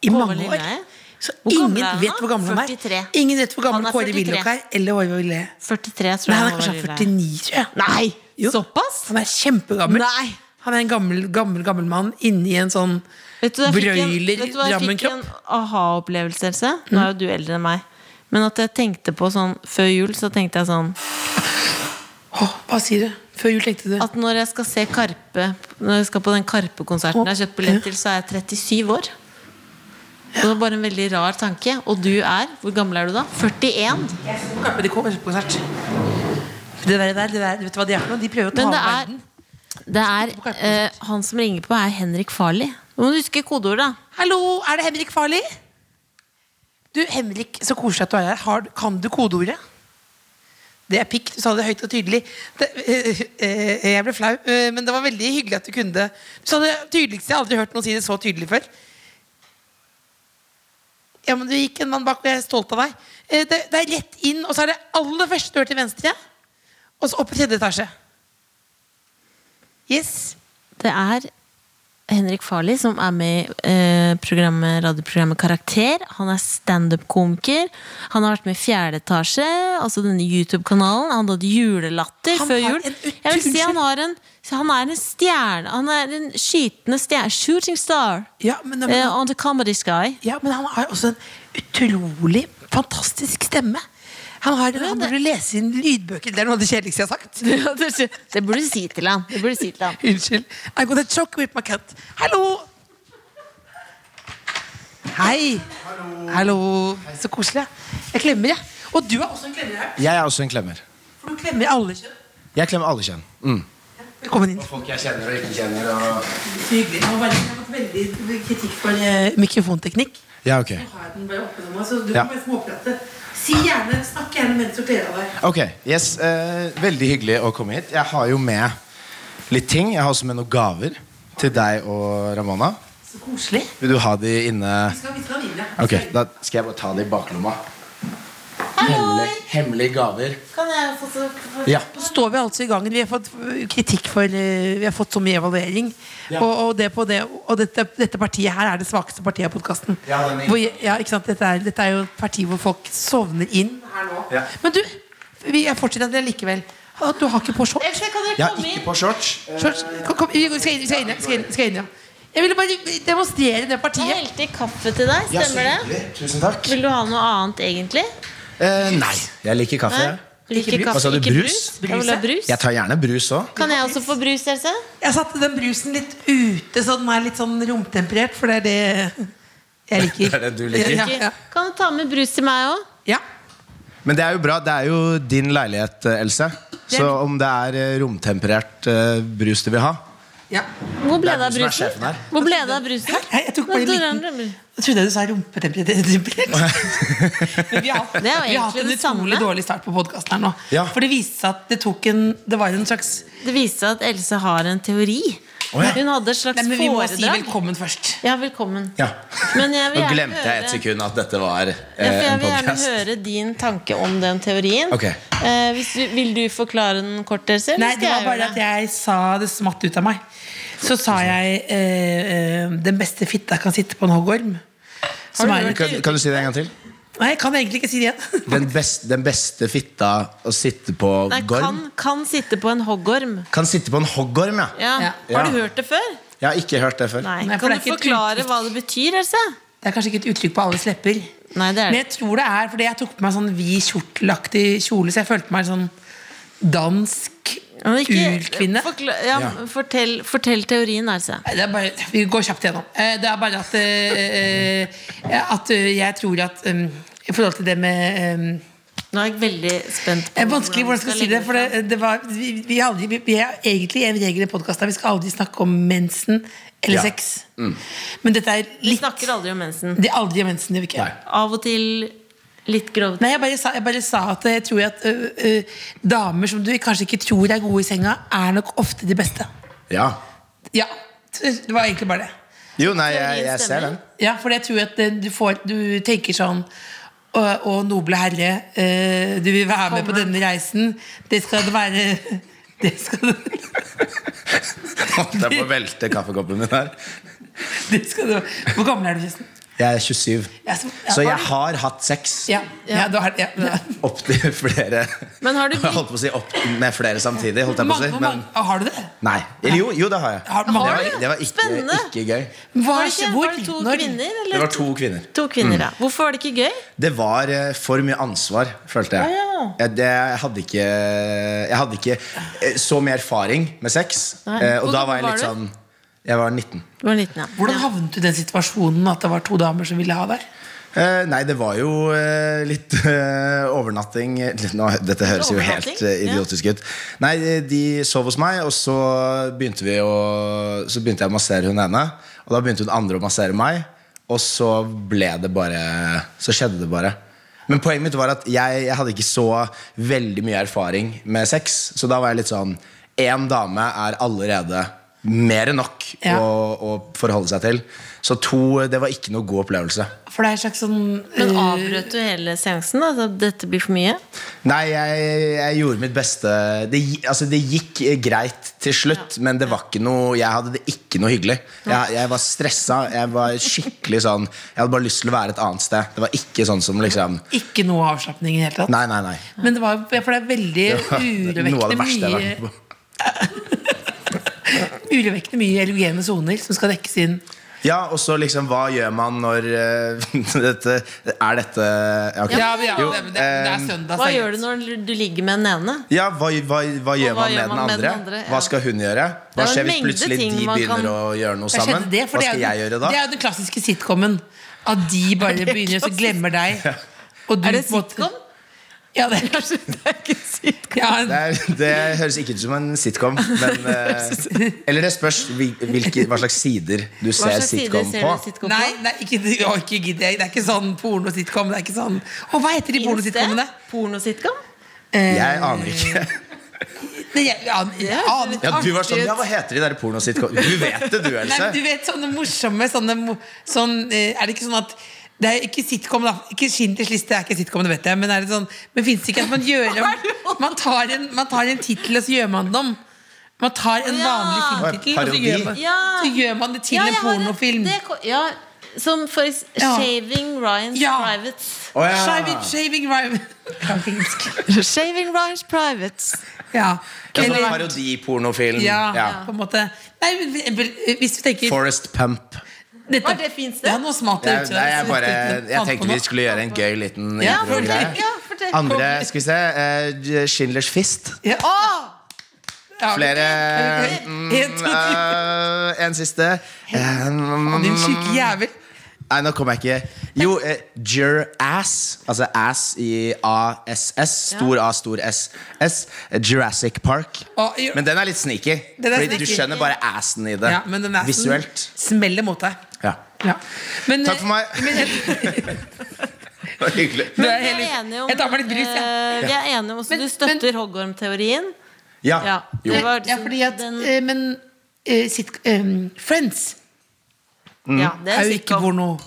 i
Håvard
mange år.
Lilleheie?
Så
Hvor gammel
ingen
er han
vet
da?
hvor gammel han er.
43.
Ingen vet hvor
Han
gammel
er
Kåre
43.
Willoch er. Eller Håvard Lilleheie.
43, tror
Nei,
jeg.
han er
var
kanskje
lille.
49, tror jeg.
Nei!
Jo.
Såpass?
Han er kjempegammel.
Nei.
Han er en gammel, gammel, gammel mann inni en sånn
Vet du, jeg fikk en-
brøyler
vet du hva, jeg fikk en
Drammen-kropp.
aha-opplevelse, Else. Nå er jo du eldre enn meg. Men at jeg tenkte på sånn før jul, så tenkte jeg sånn
Åh, Hva sier du? Før jul tenkte du
At når jeg skal se Karpe Når jeg skal på den Karpe-konserten jeg har kjøpt billett til, så er jeg 37 år. Og Det var bare en veldig rar tanke. Og du er Hvor gammel er du da? 41?
Carpe de Kom, konsert. Det der, det der, det der, vet du hva de er for noe? De prøver å ta over
Men det
verden.
er, det er eh, Han som ringer på, er Henrik Farli. Nå må du huske kodeordet, da.
Hallo, er det Henrik Farli? Du, Henrik, så koselig at du er her. Har, kan du kodeordet? Det er pikk. Du sa det høyt og tydelig. Det, eh, eh, jeg ble flau, eh, men det var veldig hyggelig at du kunne det. Du sa det tydeligste. Jeg har aldri hørt noen si det så tydelig før. Ja, men du gikk en mann bak, og jeg er stolt av deg. Eh, det, det er rett inn, og så er det aller første dør til venstre. Og så opp i tredje etasje. Yes.
Det er Henrik Farli som er med i eh, programmet, radioprogrammet Karakter. Han er standup-komiker. Han har vært med i Fjerde etasje, altså denne YouTube-kanalen. Han hadde julelatter
Han
før
har
jul.
en ut-
Jeg vil si
unnskyld.
han har en så Han er en stjerne. Han er en skytende stjerne. Shooting star
Ja, men, men,
eh, on the comedy sky.
Ja, men han har også en utrolig fantastisk stemme. Han, har, han burde lese inn lydbøker. Det er noe av det kjedeligste jeg har sagt.
Det burde du si til ham. Det burde du si til ham.
Unnskyld. I'm gonna choke with my cat. Hallo! Hei. Hallo. Så koselig. Jeg klemmer, jeg. Og du er også en klemmer her.
Jeg er også en klemmer.
For du klemmer alle kjønn.
Jeg klemmer alle kjønn.
Velkommen inn.
Folk jeg kjenner og ikke kjenner.
Så hyggelig. Jeg må bare- jeg har fått veldig kritikk for eh, mikrofonteknikk.
Ja, ok.
Jeg har den bare oppe nå, så du
Ja.
kan bare småprate. Si gjerne, Snakk gjerne mens du kler av deg.
Ok, yes, eh, Veldig hyggelig å komme hit. Jeg har jo med litt ting. Jeg har også med noen gaver til deg og Ramona.
Så koselig.
Vil du ha de inne?
Vi skal, vi skal videre.
Ok, Da skal jeg bare ta de i baklomma. Hemmelige, hemmelige gaver.
Kan jeg få så
Ja.
Så står vi altså i gangen. Vi har fått kritikk for eh, Vi har fått så mye evaluering.
Ja.
Og, og, det på det, og dette, dette partiet her er det svakeste partiet av podkasten.
Ja, den er-
ja, ikke sant? dette, er- dette er jo et parti hvor folk sovner inn her nå.
Ja.
Men du, vi jeg fortsetter det likevel. Ah, Du har ikke på shorts?
Else, kan dere
Jeg har
komme inn?
ikke på shorts. Eh,
shorts. Kom, kom, vi går- skal inn, vi skal inn, ja. Vi skal inn, vi skal inn ja. Jeg ville bare demonstrere det
Jeg
partiet.
helte i kaffe til deg,
ja, så
stemmer det?
hyggelig. Tusen takk.
Vil du ha noe annet egentlig?
Eh, nei, jeg liker kaffe. jeg.
Du liker
brus.
kaffe,
Hva sa du,
ikke
brus?
Jeg vil ha brus.
Jeg tar gjerne brus òg.
Kan jeg også få brus, Else?
Jeg satte den brusen litt ute, så den er litt sånn romtemperert. For det er det jeg liker.
Det er det du liker.
Ja, ja.
Kan du ta med brus til meg òg?
ja.
Men det er jo bra. Det er jo din leilighet, eh, Else. Så om det er eh, romtemperert eh, brus du vil ha
ja.
Hvor ble det av
du som er sjefen
brusen?
her.
Hvor ble det av brusen?
Hei, jeg tok bare en
Nå drar
liten
han rømmer.
Jeg trodde du sa rumpetemperert. Men vi har, hatt-
Det er jo
vi har hatt
egentlig
en
det samme.
utrolig dårlig start på podkasten her nå.
Ja.
For det viste seg at det tok en Det var en slags
Det viste seg at Else har en teori.
Å, ja.
Hun hadde et slags
Nei, men vi må si
foredrag.
velkommen først.
ja, velkommen.
Ja.
Men jeg vil
Nå
gjerne
glemte jeg et
høre-
sekund at dette var eh,
Ja, for jeg
en
vil gjerne
podcast
høre din tanke om den teorien.
Ok.
Eh, hvis du, vil du forklare den kort, Else?
Nei, det var bare at jeg sa det smatt ut av meg. Så sa jeg eh, eh, 'Den beste fitta kan sitte på en hoggorm'. Som er,
Kan, kan du si det en gang til?
nei, jeg kan egentlig ikke si det igjen.
Den, best, den beste fitta å sitte på
Nei, kan,
gorm? Kan...
kan sitte på en hoggorm.
sitte på en hoggorm, ja.
Ja.
Ja.
Har du
Ja.
hørt det før?
Jeg har ikke hørt det før.
Nei.
Nei, for det
kan
er
du
ikke et
forklare
uttrykk.
hva det betyr, Else?
Det er kanskje ikke et uttrykk på alles lepper.
Nei, det er
Men
det.
jeg tror det er fordi jeg tok på meg sånn vid kjortelaktig kjole, så jeg følte meg sånn dansk
Men ikke-
urkvinne.
Forkla ja,
Ja.
Fortell, fortell teorien, altså. Else.
Nei, Det er bare, vi går kjapt gjennom. Eh, Det er bare at, eh, eh, at eh, jeg tror at um, I forhold til det med um,
Nå er jeg veldig spent. på
det er vanskelig hvordan jeg skal si det. For det, det var, vi, vi, har aldri, vi, vi er egentlig en regel i podkasten. Vi skal aldri snakke om mensen eller
Ja. Mm.
sex. Men dette er
Vi
litt
snakker aldri om mensen.
Det er aldri om mensen. Det gjør vi ikke.
Nei.
Av og til litt grovt.
Nei, jeg bare, sa, jeg bare sa at jeg tror at ø, ø, damer som du kanskje ikke tror er gode i senga, er nok ofte de beste.
Ja.
Ja, det var egentlig bare det.
Jo, nei, jeg,
Teorien
jeg
stemmer.
ser den.
Ja, for jeg tror at ø, du, får, du tenker sånn å, å, noble herre, ø, du vil være med på denne reisen. Det skal det være det skal det,
Holdt jeg på å velte kaffekoppen min her.
det skal det, være. Hvor gammel er du, forresten?
Jeg er 27.
Jeg er så-
Så jeg
ja,
har hatt sex
ja, ja, du har, ja, ja.
opptil flere
Men har du
Jeg holdt på å si opp med flere samtidig, holdt jeg på å
Mange,
si. Men
mange, har du det?
nei. Eller jo, jo, det har jeg.
Har-
Det
mange-
var, det var ikke,
Spennende.
ikke gøy.
Hva,
Var det, ikke,
hvor,
var det to
når-
kvinner?
Det
Eller?
var to Mm. kvinner.
To kvinner, ja. Hvorfor var det ikke gøy?
Det var eh, for mye ansvar, følte jeg.
Å,
Jeg, det, jeg hadde ikke Jeg hadde ikke eh, så mye erfaring med sex.
Nei.
eh, Og
Hvor
da var jeg
gammel
litt
var
sånn Jeg var 19.
Du var 19, ja.
Hvordan
ja.
havnet du i den situasjonen at det var to damer som ville ha deg?
Eh, nei, det var jo eh, litt eh, overnatting eh, litt- nå, Dette høres jo helt
Overnatting?
eh,
Ja.
idiotisk ut. Nei, eh, de sov hos meg, og så begynte, vi å, så begynte jeg å massere hun ene. Og da begynte hun andre å massere meg, og så ble det bare Så skjedde det bare. Men poenget mitt var at jeg, jeg hadde ikke så veldig mye erfaring med sex. Så da var jeg litt sånn Én dame er allerede mer enn nok
Ja.
å, å forholde seg til. Så to, eh, det var ikke noe god opplevelse.
For det er en slags sånn
Men
eh,
avbrøt du hele seansen? da? At dette blir for mye?
Nei, jeg, jeg gjorde mitt beste. Det, gi- altså, det gikk eh, greit til slutt, men det var ikke noe, jeg hadde det ikke noe hyggelig. Jeg, jeg var stressa. Jeg var skikkelig sånn Jeg hadde bare lyst til å være et annet sted. Det var ikke sånn som liksom
Ikke noe avslapning i det hele tatt.
Nei, nei, nei.
Men det var, for det er veldig
Det var noe av det
urovekkende
verste jeg har vært
mye,
med på.
urovekkende mye erogene soner som skal dekkes inn.
Ja, og så liksom, hva gjør man når eh, dette Er dette ja, ok.
Ja, men ja,
Jo,
det-
eh,
søndag.
Hva gjør du når du ligger med den ene?
ja, hva, hva, hva gjør
hva
man
gjør
med
man
den
med den
andre?
andre? Ja.
Hva skal hun gjøre? Hva
Det er jo en
skjer hvis
mengde
plutselig de
ting man
begynner
kan-
å gjøre noe
Hva skjedde
sammen?
det?
Hva
For det er
skal
jo-
jeg gjøre da?
Det er jo den klassiske sitcomen. At de bare begynner og så glemmer deg. Og du
Er det
på en måte-
sitcom?
Ja, det,
Kanskje det er ikke sitcom.
ja,
Det, er, det høres ikke ut som en sitcom. Men, eh, eller det spørs hvil- hvilke, hva slags sider du
Hva
ser
slags sider
sitcom
ser du
på.
sitcom på?
nei, nei ikke, å, ikke gidd. Det er ikke sånn porno-sitcom. Det er ikke sånn Å, hva heter de
Finnes det
porno-sitcomene?
Pornositcom?
Jeg aner ikke.
Nei, jeg- ja, jeg aner ikke.
Ja, du var
Artig
sånn,
ut.
ja, Hva heter de der pornositcom... Du vet det, du,
Nei, men du
Else.
vet sånne morsomme sånne, mo- sånn, eh, Er det ikke sånn at det er ikke sitcom, da. Ikke Schindlers liste er ikke sitcom, det vet jeg. Men, er det sånn, men finnes det ikke at man gjør om Man tar en, man tar en tittel, og så gjør man den om. Man tar en
Ja.
vanlig filmtittel, og så
Parodi.
gjør, man,
Ja.
så gjør man det til
Ja,
en
jeg har et-
pornofilm.
det ko- Ja, som for eks-
Ja.
'Shaving Ryan's
Ja.
Privates'.
Å, ja.
Shaving, shaving Ryan. Jeg kan ikke engelsk.
Shaving Ryan's Privates.
Ja.
Ja, sånn
Eller,
Parodipornofilm.
ja,
Ja.
på en måte. Nei, men for eksempel, eh, hvis du tenker
Forest Pump.
Var det fint sted?
Ja, nå smalt det
Jeg,
ut.
nei, jeg, bare, jeg tenkte vi
skulle
skulle gjøre en gøy liten
Ja,
intro-greie.
fortell.
Ja, fortell.
Andre skal vi se eh, Schindlers Fist.
ja. Ja.
Flere Mm,
En, to, tre.
eh, En siste. Eh,
Din syke jævel.
Nei, nå kom jeg ikke. Jo, eh, Jurass, altså ass i ASS. Stor A, stor S. S eh, Jurassic Park.
Å, jo.
Men den er litt sneaky.
Den er
Fordi du
sneaky.
skjønner bare assen i det.
Ja, men den er sånn-
Visuelt.
Smeller mot deg.
Ja.
Ja. Men,
Takk for meg.
eh, Men,
Det var hyggelig.
men,
Vi er enige om
jeg tar meg litt brus, jeg.
eh, Vi er enige om også,
Men-
Du støtter hoggormteorien.
Ja.
Ja,
Jo.
det var
Ja, fordi at,
den,
eh, men eh, sit, eh, Friends
ja, det
Mm. er
er
jo ikke
sitcom.
porno.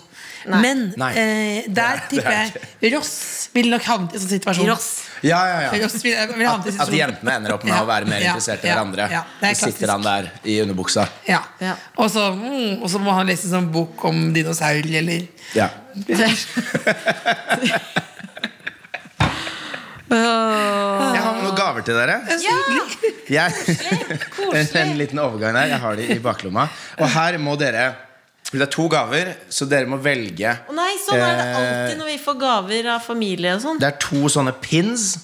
Men
Nei.
eh, der tipper
det
jeg Ross ville nok havnet i en sånn situasjon.
Ross.
Ja, ja, ja.
Ross ville, ville havnet i en
At
situasjon.
jentene ender opp med
Ja,
å være mer
ja,
interessert i
ja,
hverandre.
ja. Det er
Så sitter han der i underbuksa.
Ja.
Ja.
Og, så, mm, og så må han lese en sånn bok om dinosaurer eller
Ja. Jeg har med noen gaver til dere. Jeg, en liten overgang der. Jeg har de i baklomma. Og her må dere Det er to gaver, så dere må velge.
Å nei, sånn er det alltid når vi får gaver av familie og sånn.
Det er to sånne pins,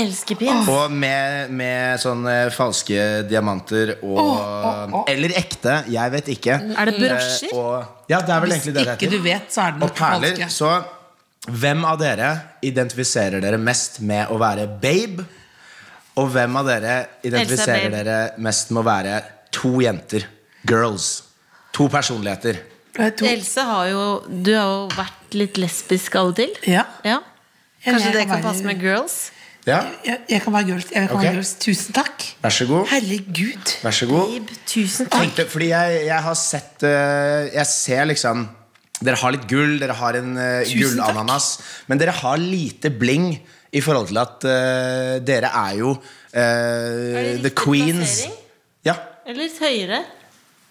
Elsker pins.
og med, med sånne falske diamanter og Eller ekte. Jeg vet ikke.
Er det
Eh,
brosjer?
Og, ja, det er vel
Hvis
egentlig det det
ikke du
heter.
vet, så er det
Og
nok
perler.
falske.
Så hvem av dere identifiserer dere mest med å være babe? Og hvem av dere identifiserer
babe.
dere mest med å være to jenter? Girls. To personligheter.
Eh, to-
Else har jo Du har jo vært litt lesbisk av og til.
Ja.
Ja.
Ja, men
Kanskje
jeg
det
kan
kan
være-
passe med girls?
Ja,
Jeg, jeg kan være girls. Jeg kan
Ok.
være girls. Tusen takk.
Vær så god.
Herregud.
Vær så god.
Babe, tusen takk.
Tenkte, fordi jeg, jeg har sett eh, Jeg ser liksom Dere har litt gull, dere har en eh,
Tusen takk.
gullananas. Men dere har lite bling i forhold til at eh, dere er jo eh,
det
the
riktig
queens.
plassering?
Ja,
Eller litt høyere.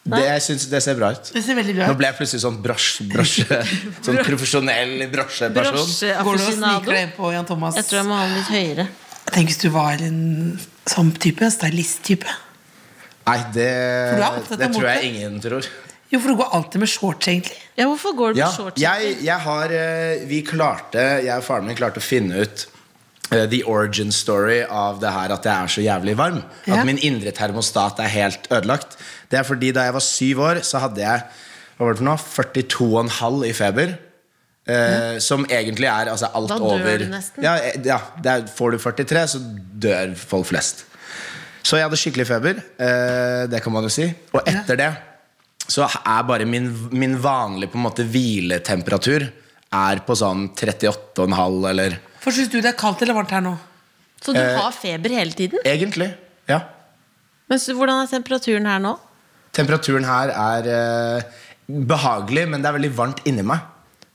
det, jeg synes det ser bra ut.
Det ser veldig bra
Nå
ut.
ble jeg plutselig sånn brosje, brosje Sånn profesjonell brosjeperson.
Går det å snike
Brosjeaficionado.
deg på Jan Thomas?
Jeg tror jeg må ha den litt høyere.
Tenk hvis du var en sånn type. en Stylist-type.
Nei, det,
du er opptatt av
det tror
mote.
jeg ingen tror.
Jo, for du går alltid med shorts, egentlig.
Ja, hvorfor går du
Ja,
med shorts?
jeg, jeg har eh, Vi klarte, jeg og faren min klarte å finne ut eh, The origin story av det her at jeg er så jævlig varm.
Ja.
At min indre termostat er helt ødelagt. Det er fordi da jeg var syv år, så hadde jeg hva var det for noe, 42,5 i feber. Eh, Som egentlig er altså, alt
Da dør
over
du nesten.
Ja, eh, ja det er, Får du 43, så dør folk flest. Så jeg hadde skikkelig feber. Eh, det kan man jo si. Og etter det så er bare min, min vanlige på en måte hviletemperatur Er på sånn 38,5 eller
For syns du det er kaldt eller varmt her nå?
Så du
eh,
har feber hele tiden?
Egentlig. Ja.
Men så, hvordan er temperaturen her nå?
Temperaturen her er eh, behagelig, men det er veldig varmt inni meg.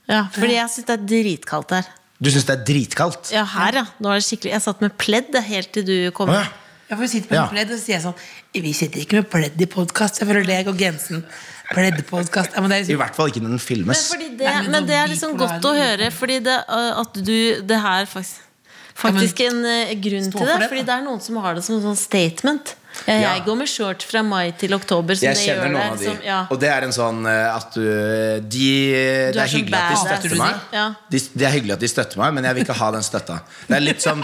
Ja, fordi jeg syns det er dritkaldt her.
Du syns det er dritkaldt?
Ja, her, ja. Nå er det skikkelig Jeg satt med pledd det, helt til du kom.
Å ja.
Ja, for vi sitter med
Ja.
pledd, og så sier jeg sånn Vi sitter ikke med pledd i podkast. Jeg føler det går grensen. Pleddpodkast. Ja, men det er
I
liksom,
hvert fall ikke når den
Men,
filmes.
fordi det,
Nei, men
men
da
det er
blir
liksom
for da er
godt
det
å
lite.
høre, fordi det, øh, at du Det her faktisk Faktisk en eh, grunn
stå
til det,
for det,
fordi
da.
det er noen som har det som en sånn statement. Ja, jeg
Ja.
går med shorts fra mai til oktober. Som
Jeg
det
kjenner
gjør
noen
deg,
av de.
som- ja.
Og det er en sånn eh, at du de, Det er
er sånn
hyggelig at de
badass.
støtter meg.
Ja.
De, det er hyggelig at de støtter meg, men jeg vil ikke ha den støtta. Det er litt som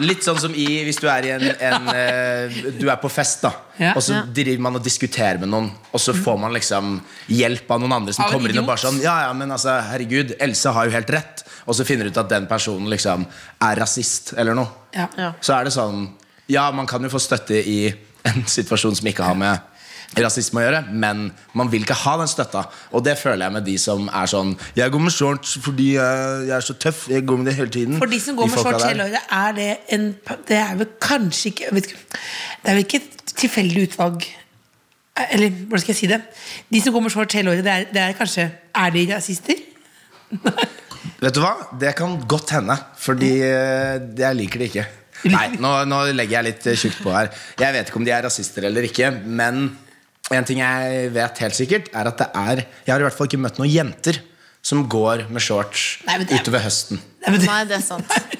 Litt sånn som i hvis du er i en, en eh, Du er på fest, da.
Ja.
Og så
Ja.
driver man og diskuterer med noen, og så får man liksom hjelp av noen andre som
Av en
kommer inn og
idiot.
bare sånn Ja, ja, men altså, herregud, Else har jo helt rett. Og så finner du ut at den personen liksom er rasist eller noe
ja.
Ja.
så er det sånn Ja, man kan jo få støtte i en situasjon som ikke har med rasisme å gjøre, men man vil ikke ha den støtta. Og det føler jeg med de som er sånn Jeg går med shorts fordi eh, jeg, jeg er så tøff. Jeg går med det hele tiden.
For de som går med
folka
shorts
der.
hele året, er det en Det er vel kanskje ikke jeg vet ikke, Det er vel ikke et tilfeldig utvalg Eller hvordan skal jeg si det? De som går med shorts hele året, det er, det er kanskje Er de rasister?
Vet du hva? Det kan godt hende, fordi eh, jeg liker det ikke. Nei, nå, nå legger jeg litt eh, tjukt på her. Jeg vet ikke om de er rasister eller ikke, men en ting jeg vet helt sikkert, er at det er Jeg har i hvert fall ikke møtt noen jenter som går med shorts
Nei, men det er-
utover høsten.
Nei, men det,
Nei, det er sant.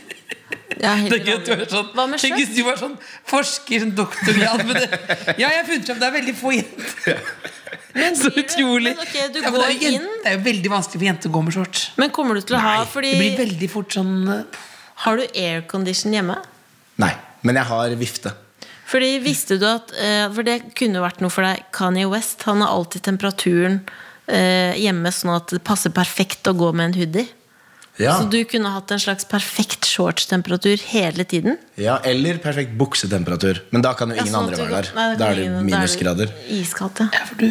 Jeg er helt
det er gøy at du er
enig.
sånn
Hva med
Tenk
shorts?
hvis du var sånn forsker, sånn doktorgrad men det, Ja, jeg har funnet fram, det er veldig få jenter. Så
blir det-
utrolig.
men ok, du
Ja, men det, er
går
jo jen-
inn.
det er jo veldig vanskelig for jenter å gå med shorts.
Men kommer du til å ha fordi,
Det blir veldig fort sånn eh,
Har du aircondition hjemme?
Nei, men jeg har vifte.
Fordi visste du at eh, For det kunne vært noe for deg. Kanye West han har alltid temperaturen eh, hjemme, sånn at det passer perfekt å gå med en hoodie.
Ja.
Så du kunne hatt en slags perfekt shortstemperatur hele tiden.
ja, Eller perfekt buksetemperatur. Men da kan jo ingen
Ja, sånn at
andre være
du
der.
kan- Nei,
da
kan
er det
ingen- da
minusgrader.
Iskaldt, ja.
Ja, for du,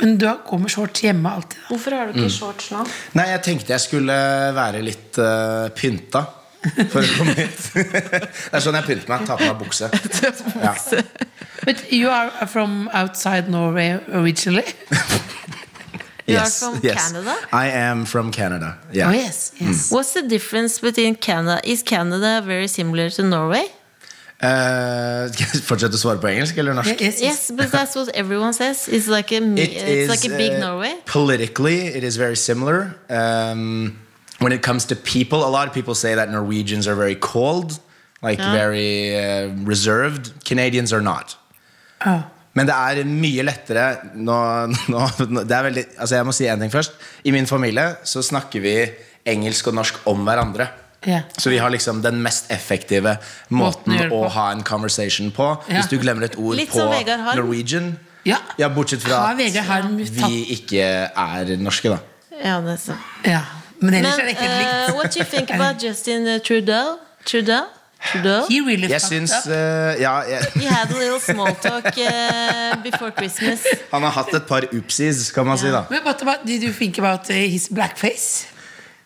men du har- går med shorts hjemme alltid. da.
Hvorfor har du
Mm.
ikke shorts nå?
Nei, jeg tenkte jeg skulle være litt eh, pynta for å komme hit. det er sånn jeg pynter meg. Tar på meg bukse. Ja.
But you are from outside Norway originally?
You are from Canada?
I am from Canada. Yeah.
Oh yes,
Mm.
yes.
What's the difference between Canada? Is Canada very similar to Norway?
Eh, skal jeg fortsette å svare på engelsk eller norsk?
Yes, yes.
Yes, but that's what everyone says. It's like a, mi- Mm. it's like a big
uh,
Norway.
Politically, it is very similar. Um, when it comes to people, a lot of people say that Norwegians are very cold, like very uh, reserved. Canadians are not.
Ah.
Men det er mye lettere nå, nå, nå- det er veldig, altså Jeg må si en ting først. I min familie så snakker vi engelsk og norsk om hverandre.
Ja.
Så vi har liksom den mest effektive måten
Måten å gjøre det
å
på.
ha en conversation på.
Ja.
Hvis du glemmer et ord
Litt
på
som Vegard Harm.
Norwegian.
Ja.
Ja, Bortsett fra
Har Vegard Harm
at
tatt-
vi ikke er norske, da.
Ja, det er sant.
Ja. Men ellers er
Men
det ikke helt
eh,
likt.
what do you think about Justin uh, Trudeau? Trudeau? Trudeau?
He really
Jeg
fucked
syns
up.
eh, Ja,
We
jeg,
had a little small talk eh, before Christmas.
han har hatt et par oopsies, kan man si, da.
But what about, did you think about eh, his blackface?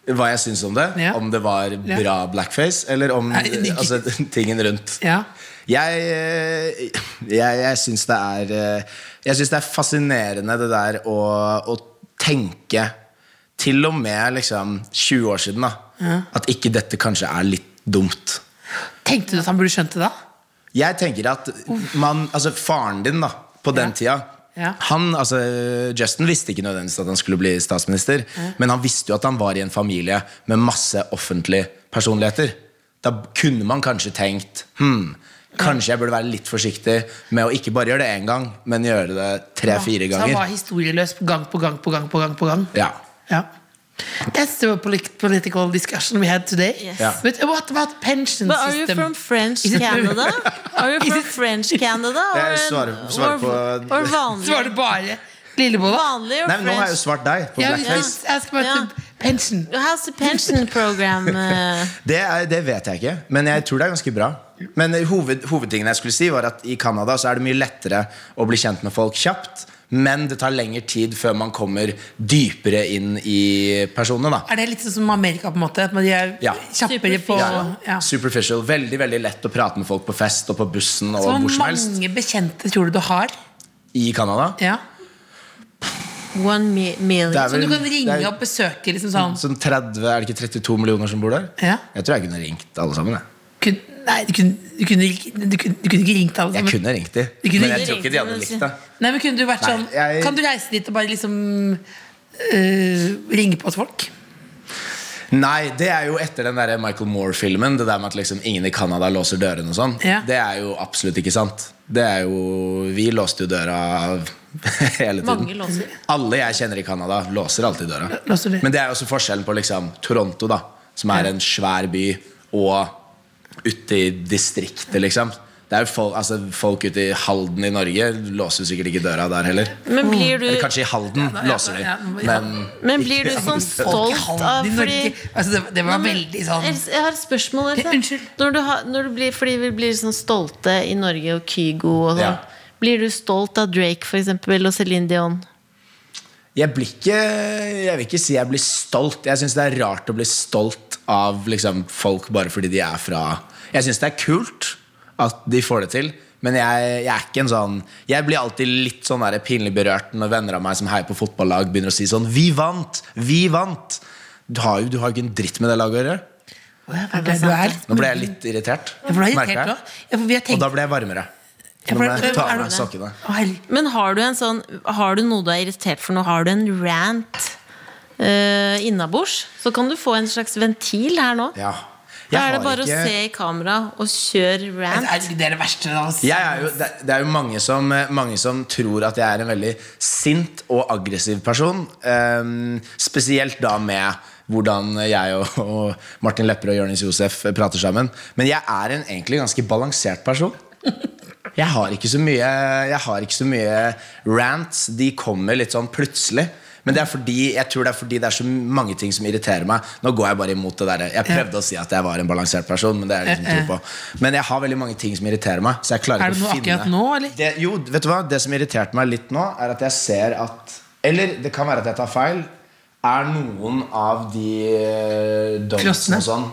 Hva jeg syns om det.
Ja.
Om det var bra blackface, eller om
Nei, det-
altså, tingen rundt.
Ja.
Jeg, eh, jeg, jeg syns det er eh, Jeg syns det er fascinerende det der å, å tenke Til og med liksom 20 år siden, da. At ikke dette kanskje er litt dumt.
Tenkte du at han burde skjønt det da?
Jeg tenker at man, altså faren din da På den tida
Ja.
han, altså, Justin visste ikke nødvendigvis at han skulle bli statsminister Men han visste jo at han var i en familie Med masse offentlige personligheter Da kunne man kanskje tenkt hmm, Kanskje jeg burde være litt forsiktig Med å ikke bare gjøre det en gang Men gjøre det tre-fire
Så han var
ganger
historieløs på gang på gang på gang på gang. på gang
Ja
Ja. That's the polit- political discussion we had today.
Yes.
Ja.
But what about pension
But are you
system?
from French
Is it-
Canada? Are you from French Canada? Or,
Jeg svarer- svarer
or,
er på- uh,
or
Så var
vanlig?
det bare lillebolla.
Vanlig or
Nei, men nå har jeg jo
French?
svart deg på
Ja,
blackface
jeg skal bare til pension.
How's the pension program? eh?
det, er, det vet jeg ikke, men jeg tror det er ganske bra. Men hoved, hovedtingen jeg skulle si var at i Canada så er det mye lettere å bli kjent med folk kjapt. Men det tar lengre tid før man kommer dypere inn i personene. da
Er det litt sånn som Amerika, på en måte? At man- de er
Ja.
kjappere på
Ja, ja.
ja.
Superficial. Veldig veldig lett å prate med folk på fest og på bussen. og
Så
hvor som helst
mange bekjente tror du du har?
I Canada.
Ja.
One mi- million.
Det er
Som du
vel-
kan
det er-
ringe og besøke? liksom sånn
Sånn 30, Er det ikke 32 millioner som bor der?
Ja.
Jeg tror jeg kunne ringt alle sammen. Jeg,
kun, Nei, du kunne, du, kunne, ikke- du, kunne, du kunne ikke ringt alle
jeg
sammen.
kunne ringt de,
Du kunne
men jeg
ringt-
tror ikke de hadde likt det.
Nei, men kunne du vært
Nei,
sånn
jeg-
Kan du reise dit og bare liksom øh, ringe på hos folk?
Nei, det er jo etter den der Michael Moore-filmen. Det der med at liksom ingen i Canada låser dørene og sånn.
Ja.
Det er jo absolutt ikke sant. Det er jo Vi låste jo døra av hele tiden.
Mange låser.
Alle jeg kjenner i Canada, låser alltid døra.
Låser de.
Men det er jo også forskjellen på liksom Toronto, da som
Ja.
er en svær by, og ute i distriktet, liksom. Det er jo folk, altså, folk ute i Halden i Norge låser jo sikkert ikke døra der heller.
Men blir
Eller
du,
kanskje i Halden
ja,
låser de.
ja, Mm. ja.
Men
men blir du
ikke-
sånn
Folk i
stolt av
Halden i Norge.
fordi
Altså, det, det var
Nei, men,
veldig sånn
Else, Jeg har et spørsmål. Else.
Ja, unnskyld.
Når du har, når du blir, fordi vi blir sånn stolte i Norge og Kygo og
Ja.
sånn. Blir du stolt av Drake for eksempel, og Celine Dion?
Jeg blir ikke Jeg vil ikke si jeg blir stolt. Jeg syns det er rart å bli stolt av liksom, folk bare fordi de er fra Jeg syns det er kult at de får det til, men jeg, jeg er ikke en sånn Jeg blir alltid litt sånn der pinlig berørt når venner av meg som heier på fotballag, begynner å si sånn Vi vant! Vi vant! Du har jo du har jo ikke en dritt med det laget å gjøre.
Hva er det du er?
Nå ble jeg litt irritert.
Ja, for du er irritert
merker jeg.
nå? Ja, for vi har
Og
tenkt
da ble jeg varmere.
Ja,
Nå
for-
må jeg ta
er
av
du-
meg sokkene.
Å, herregud.
Men har du en sånn Har du noe du er irritert for nå? Har du en rant uh, innabords? Så kan du få en slags ventil her nå.
Ja.
da er
har
det bare
ikke-
å se i kamera og kjøre
Det
rant.
er det er det verste. da, altså.
Jeg er jo, det, det er jo mange som, eh, mange som tror at jeg er en veldig sint og aggressiv person. Ehm, spesielt da med hvordan jeg og, og Martin Lepperød og Jonis Josef prater sammen. Men jeg er en egentlig ganske balansert person. Jeg har ikke så mye, jeg har ikke så mye rants. De kommer litt sånn plutselig. Men det er fordi, jeg tror det er fordi det er så mange ting som irriterer meg. Nå går jeg bare imot det der. Jeg prøvde å si at jeg var en balansert person, men det er jeg liksom tro på. Men jeg har veldig mange ting som irriterer meg. Så jeg klarer
Eh, Er det
ikke å
noe
finne
akkurat nå, eller?
det, jo, vet du hva? Det som irriterte meg litt nå, er at jeg ser at Eller det kan være at jeg tar feil. Er noen av de eh,
Frosne?
donutsene og sånn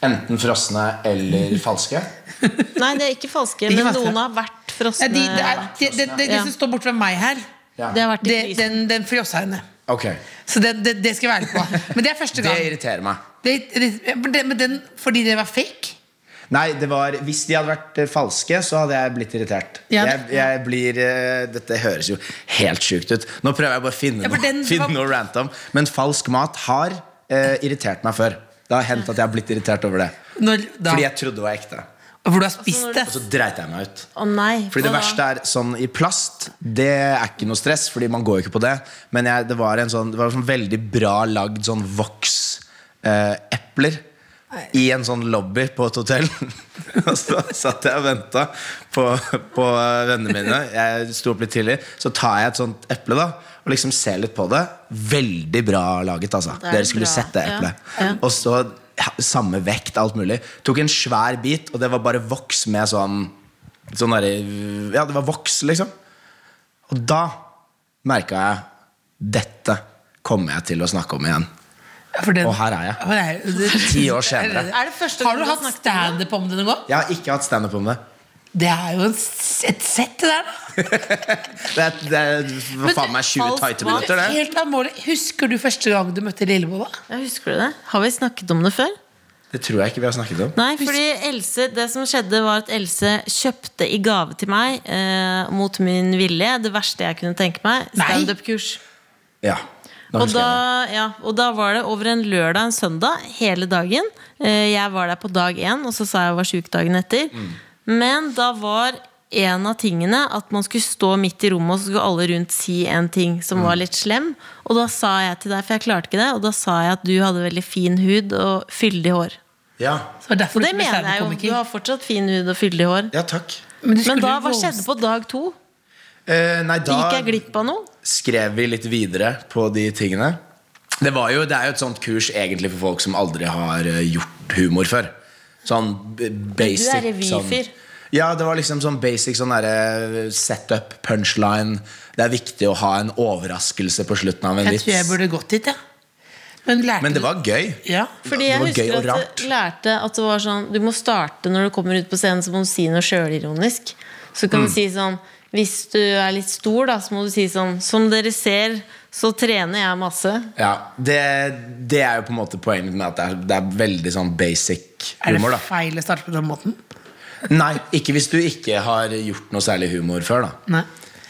enten frosne eller falske?
Nei, det er ikke falske,
er ikke
men
falske.
noen har vært frosne.
Ja, de, det, er, de, de, de, de
Ja.
som står borte ved meg her,
Ja.
Det har vært i
det,
prisen.
den, den frossa henne.
Ok.
Så det, det, det skal jeg være ærlig på. Men det er første
Det
gang.
irriterer meg.
Det, det, men det, men den, fordi det var fake?
Nei, det var, Hvis de hadde vært eh, falske, så hadde jeg blitt irritert.
Ja.
Jeg, jeg blir, eh, Dette høres jo helt sjukt ut. Nå prøver jeg bare å finne,
Ja, for
noe,
den
finne
var-
noe å rante om. Men falsk mat har eh, irritert meg før. Det har hendt at jeg har blitt irritert over det.
Når, da,
Fordi jeg trodde det var ekte.
hvor du har spist det?
Og så dreit jeg meg ut.
Å nei.
Fordi det
hva da?
verste er sånn i plast Det er ikke noe stress, fordi man går jo ikke på det. Men jeg, det var en sånn, det var en sånn veldig bra lagd sånn voks-epler. I en sånn lobby på et hotell. Og så satt jeg og venta på, på eh, vennene mine. Jeg sto opp litt tidlig. Så tar jeg et sånt eple da og liksom ser litt på det. Veldig bra laget, altså.
Det er
Dere skulle
bra.
sett det
Ja.
eplet.
Ja.
Og så ja, samme vekt, alt mulig. Tok en svær bit, og det var bare voks med sånn, sånn derre Ja, det var voks, liksom. Og da merka jeg dette kommer jeg til å snakke om igjen.
For den,
Og her er jeg.
Her det-
Ti år senere.
Er det første
har
gang
du
du har
hatt
snakket om det?
standup om det noen gang?
Jeg har ikke hatt standup om det.
Det er jo en, s- et sett, det der. da.
Det er, det er for faen meg 20
falsk
tighte
mat.
minutter, det.
Helt alvorlig. Husker du første gang du møtte Lillebolla?
Ja, husker du det? Har vi snakket om det før?
Det tror jeg ikke vi har snakket om.
Nei, fordi Else, det som skjedde var at Else kjøpte i gave til meg eh, mot min vilje det verste jeg kunne tenke meg,
Nei.
standup-kurs.
Ja, nå
Og
husker jeg
da, ja, og da var det over en lørdag en søndag hele dagen. Eh, Jeg var der på dag én, og så sa jeg jeg var sjuk dagen etter.
Mm.
Men da var en av tingene at man skulle stå midt i rommet, og så skulle alle rundt si en ting
Mm.
som var litt slem. Og da sa jeg til deg, for jeg klarte ikke det, og da sa jeg at du hadde veldig fin hud og fyldig hår.
det. Ja.
Så det var derfor
Og
du
det
ikke ble
mener jeg jo. Du
standup-komiker.
har fortsatt fin hud og fyldig hår.
ja, takk.
Men, du skulle
Men da,
jo
hva
våge-
skjedde på dag to?
Eh, nei, da
Gikk jeg glipp av noe?
skrev vi litt videre på de tingene. Det, var jo, det er jo et sånt kurs egentlig for folk som aldri har eh, gjort humor før. Sånn b- basic
Du er revyfyr.
Sånn, ja, det var liksom sånn basic sånn derre setup, punchline. Det er viktig å ha en overraskelse på slutten av en
Jeg tror jeg
vits.
burde gått dit, jeg. Men lærte
Men det
du-
var gøy.
ja.
Fordi
Det
jeg
var gøy
husker
og
at
rart.
jeg lærte at det var sånn Du må starte når du kommer ut på scenen, så må du si noe sjølironisk. Så kan
Mm.
du si sånn Hvis du er litt stor, da, så må du si sånn Som dere ser, så trener jeg masse.
Ja, det, det er jo på en måte poenget med at det er, det er veldig sånn basic
Er
humor.
det
da
feil å starte på den måten?
Nei, ikke hvis du ikke har gjort noe særlig humor før. da
Nei.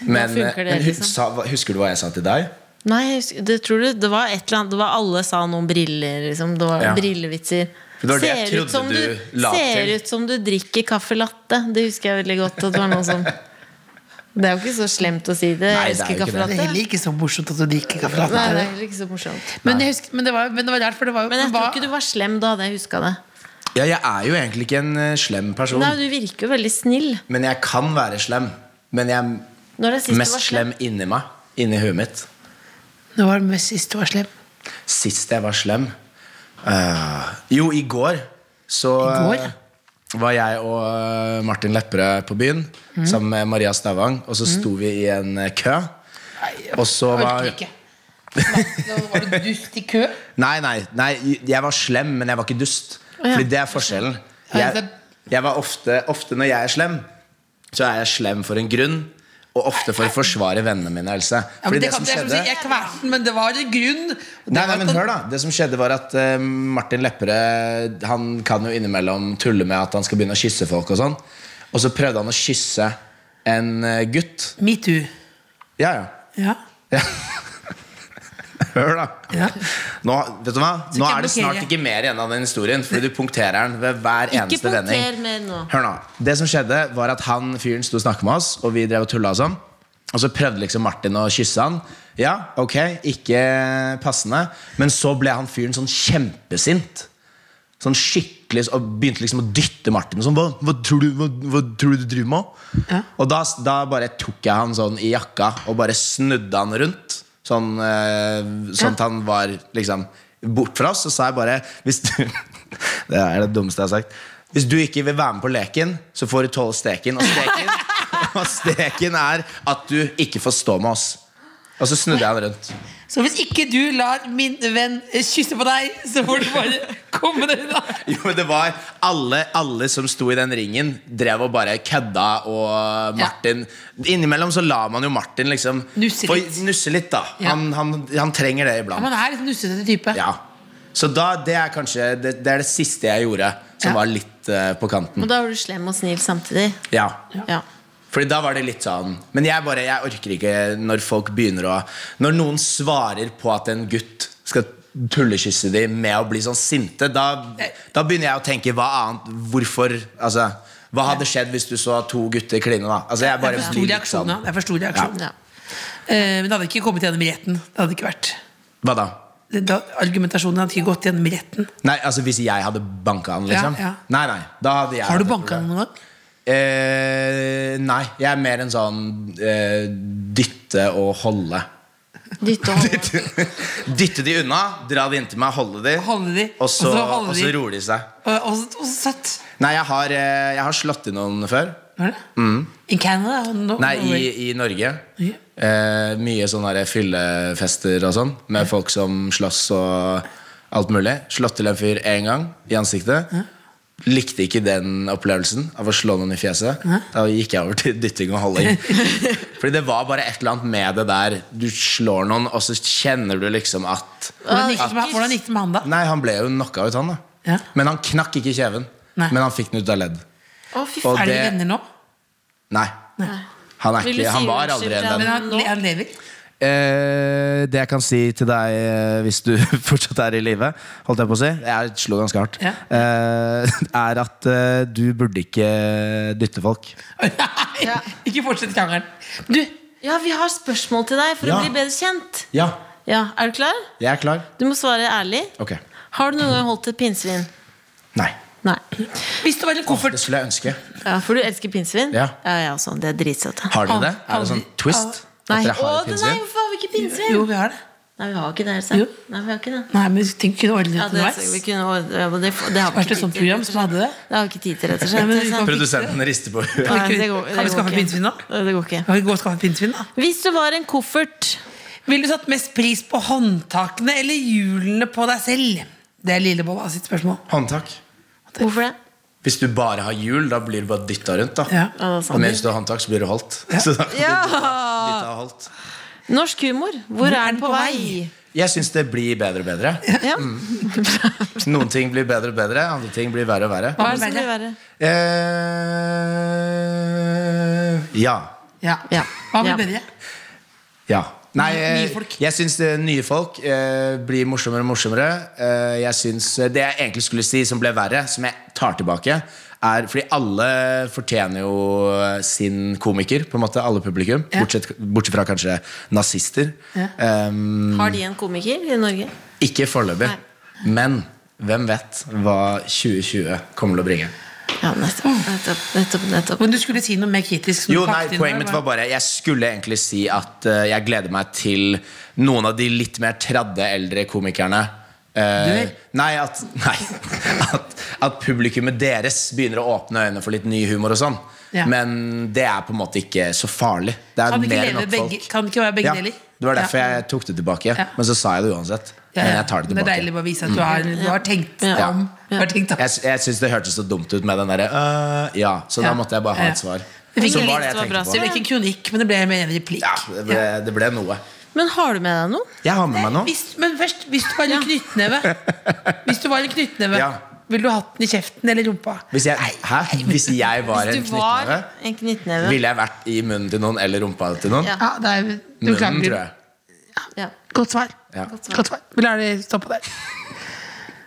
Men, eh,
funker det,
men hus-
liksom.
sa, hva- husker du hva jeg sa til deg?
Nei, jeg husker- det tror du Det var et eller annet Det var alle sa noen briller, liksom. Det var
Ja.
brillevitser.
For det var det jeg
ser ut
trodde
som du,
du la
ser
til.
ut som du drikker caffè latte. Det husker jeg veldig godt. At det var noen som Det er jo ikke så slemt å si det.
Nei,
Jeg
det er
elsker
jo ikke
caffè
Det er
latte.
heller ikke så morsomt at du drikker kaffe latte.
Nei,
er
det
det?
er heller ikke så morsomt.
Men, jeg husker, men, det var, men det var rart, for det var jo
Men jeg
hva-
tror ikke du var slem da hadde jeg huska det.
Ja, jeg er jo egentlig ikke en eh, slem person.
Nei, du virker jo veldig snill.
Men jeg kan være slem. Men jeg er
Når er sist du
mest
var slem?
slem inni meg. Inni huet mitt.
Det var mest sist du var slem.
Sist jeg var slem eh, Jo, i går så
I går?
eh, var jeg og eh, Martin Lepperød på byen
Mm.
sammen med Maria Stavang, og så sto vi i en eh, kø. Og så var
Orker ikke. Da var du dust i kø.
Nei, nei, nei, jeg var slem, men jeg var ikke dust.
ja.
Fordi det er forskjellen.
Ja,
Jeg,
det-
jeg var ofte, ofte når jeg er slem, så er jeg slem for en grunn. Og ofte for å forsvare vennene mine, Else.
Ja, men
Fordi det
det, kan,
som
det er som å
skjedde
si, jeg kverten, men det var en grunn. Og det
Nei, nei,
var
men
at-
hør da Det som skjedde var at eh, Martin Lepperød Han kan jo innimellom tulle med at han skal begynne å kysse folk og sånn. Og så prøvde han å kysse en eh, gutt.
Metoo.
Ja, ja.
Ja.
Hør, da.
Ja.
Nå, vet du hva? Nå
ikke
er det snart
blokkere.
ikke mer igjen av den historien, fordi du punkterer den ved hver
Ikke
eneste vending.
punkter mer nå.
Hør nå, det som skjedde var at han fyren sto og snakket med oss Og vi drev og tullet og sånn Og så prøvde liksom Martin å kysse han Ja, ok, ikke passende Men så ble han fyren sånn kjempesint Sånn skikkelig Og begynte liksom å dytte Martin sånn, hva, hva, tror, du, hva, hva tror du du driver med? Og da, da bare tok jeg han sånn i jakka Og bare snudde han rundt Sånn, eh, sånn at han var liksom bort fra oss. Så sa jeg bare hvis du, Det er det dummeste jeg har sagt. Hvis du ikke vil være med på leken, så får du tåle steken. Og steken, og steken er at du ikke får stå med oss. Og så snudde jeg han rundt.
Så hvis ikke du lar min venn eh, kysse på deg, så får du bare komme deg unna.
Jo, men det var alle, alle som sto i den ringen, drev og bare kødda. Og Martin Innimellom så la man jo Martin liksom
Nusse
få
litt.
nusse litt da.
Ja.
Han, han, han trenger det
Ja,
iblant.
Man er litt nussete type.
Ja. Så da, det er kanskje det, det er det siste jeg gjorde som
Ja.
var litt eh, på kanten.
Og da var du slem og snill samtidig.
Ja.
Ja.
Fordi da var det litt sånn Men jeg bare, jeg orker ikke når folk begynner å Når noen svarer på at en gutt skal tullekysse dem med å bli sånn sinte, da, da begynner jeg å tenke hva annet Hvorfor? Altså, hva hadde skjedd hvis du så to gutter kline, da? Altså, jeg
Det er
bare
for
blir
stor
litt
reaksjon.
sånn
ja. Det er for stor reaksjon.
Ja.
Eh, men det hadde ikke kommet gjennom i retten. Det hadde ikke vært
Hva da?
det, da, Argumentasjonen hadde ikke gått gjennom i retten.
Nei, altså Hvis jeg hadde banka han, liksom?
Ja, ja.
Nei, nei, da hadde jeg
Har du
hatt et
banka
problem.
noen gang?
Eh, nei, jeg er mer en sånn eh, dytte og holde.
Dytte og holde.
dytte de unna, dra de inntil meg, holde de,
Holde de,
og så,
og så holde
og
de.
så roer de seg.
Og, og, så- og så søtt.
Nei, jeg har, eh, jeg har slått i noen før.
Var det? In Canada? og No,
Mm. Nei, i,
Norway.
i Norge.
Ja.
Eh, mye sånne der fyllefester og sånn, med folk som slåss og alt mulig. Slått til en fyr én gang i ansiktet. Likte ikke den opplevelsen av å slå noen i fjeset. Da gikk jeg over til dytting og holding. Fordi det var bare et eller annet med det der. Du slår noen, og så kjenner du liksom at
Hvordan gikk det med, hvordan gikk det med han da?
Nei, han ble jo knocka ut, han, da.
Ja.
Men han knakk ikke kjeven.
Nei.
Men han fikk den ut av ledd.
Å, fy
Og
Er
faen.
dere
det-
venner nå?
Nei. Han, er
Vil du
ikke,
si
han var
unnskyld
aldri
til
en
han?
venn.
Men han,
Nå?
han lever?
Eh, det jeg kan si til deg eh, hvis du fortsatt er i live, holdt jeg på å si, jeg slo ganske hardt,
Ja.
eh, er at eh, du burde ikke dytte folk.
Nei,
Ja.
ikke fortsett krangelen. Du,
Ja, vi har spørsmål til deg for
Ja.
å bli bedre kjent.
Ja,
Ja, Er du klar?
jeg er klar.
Du må svare ærlig.
Ok.
Har du noen gang holdt et pinnsvin?
Nei.
Nei.
hvis det var en koffert
Det skulle jeg ønske.
Ja, For du elsker pinnsvin?
Ja.
ja, ja også. Det er dritsøte.
Har dere det?
Aldri.
Er det sånn twist?
Nei,
At dere
å,
har et
det- nei,
pinnsvin?
hvorfor har vi ikke pinnsvin?
Jo, vi har det.
Nei, vi har ikke det.
Jo.
Altså. Nei, vi har ikke det.
Nei, men tenk kunne ordne det
Ja, det, vi
underveis.
kunne, ordne- ja, men det, det har vi
Vært
ikke
et sånt
tid til.
program som hadde det.
Det har vi ikke tid til, rett og
Nei,
slett.
men
Det
vi
er
kan
sant.
fikse
Produsenten rister på huet.
Nei, det går,
Kan vi
det går
skaffe pinnsvin
ikke.
da?
Det går ikke.
Kan vi gå og skaffe pinnsvin, da?
Hvis du var en koffert
Ville du satt mest pris på håndtakene eller hjulene på deg selv? Det er Lillebolla sitt spørsmål.
Håndtak.
Hvorfor det?
Hvis du bare har hjul, da blir du bare dytta rundt. da
Ja.
Ja, det er sant.
Og mens du har håndtak, så blir du holdt. Så da kan du dytta og holdt.
Norsk humor, hvor, er den på vei?
Jeg syns det blir bedre og bedre.
Ja.
Mm.
Noen ting blir bedre og bedre, andre ting blir verre og verre.
Hva er det som blir verre?
Eh, ja.
Ja.
Ja.
Hva blir
Ja.
bedre?
Ja. Nei,
Nye
eh,
folk.
jeg syns nye folk eh, blir morsommere og morsommere. Eh, jeg synes eh, Det jeg egentlig skulle si som ble verre, som jeg tar tilbake, er fordi alle fortjener jo eh, sin komiker, på en måte. Alle publikum.
Ja.
Bortsett, bortsett fra kanskje nazister. Eh,
Har de en komiker i Norge?
ikke foreløpig. Men hvem vet hva 2020 kommer til å bringe.
Ja, nettopp. Nettopp. nettopp, nettopp.
Men du skulle si noe mer kritisk. som
Jo,
du
nei,
pakket inn
Poenget
der,
mitt
bare-
var bare Jeg skulle egentlig si at eh, jeg gleder meg til noen av de litt mer tradde eldre komikerne. Eh,
Duell?
nei, at, nei at, at publikummet deres begynner å åpne øynene for litt ny humor og sånn.
Ja.
Men det er på en måte ikke så farlig. Det er
Kan det ikke,
mer enn
leve
nok
begge,
folk.
kan det ikke være begge
Ja,
deler?
det var derfor
Ja.
jeg tok det tilbake.
Ja.
Men så sa jeg det uansett.
Ja, ja.
Men jeg tar det
Men Det er
tilbake. Mm.
deilig å bare vise at du har, du har tenkt
Ja.
om. Du har tenkt om.
Jeg, jeg syns det hørtes så dumt ut med den derre øh, Ja, så
Ja.
da måtte jeg bare ha
Ja.
et svar.
Det fikk
Som
jeg
var det
litt
jeg
var bra,
tenkte
Det
på.
ble ikke en kronikk, men det ble mer en replikk.
Ja, det ble, det ble noe.
Men har du med deg noe?
Jeg har med meg noe.
Hvis, men først, hvis du var en knyttneve Hvis du var en knyttneve
Ja.
Ville du hatt den i kjeften eller rumpa?
Hvis jeg, hæ? Hvis jeg var en
Hvis du var
knyttneve,
en knyttneve?
ville jeg vært i munnen til noen eller rumpa til noen?
Ja.
Ja, det er, du
Munnen, tror jeg.
klager.
Ja.
Godt svar.
Ja.
Godt svar. Vi lar det stå på der.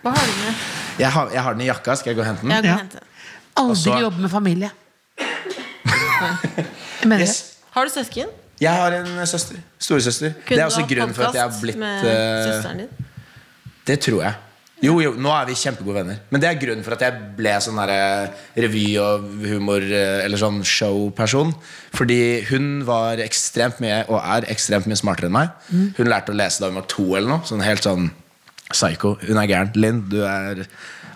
Hva har du med?
Jeg, har, jeg har den i jakka. Skal jeg gå og hente den?
Jeg går
Ja.
og henter.
Aldri
så-
jobbe med familie. Jeg mener
Yes.
det.
Har du søsken?
Jeg har en søster. Storesøster.
Kunne
Det er
du
også
ha
grunnen for at jeg har
podcast
blitt
med
eh,
søsteren din?
Det tror jeg. Jo, jo, nå er vi kjempegode venner. Men det er grunnen for at jeg ble sånn her, eh, revy- og humor- eh, Eller sånn showperson. Fordi hun var ekstremt mye og er ekstremt mye smartere enn meg. Hun lærte å lese da hun var to eller noe. Sånn helt sånn psycho. Hun er gæren. Linn, du er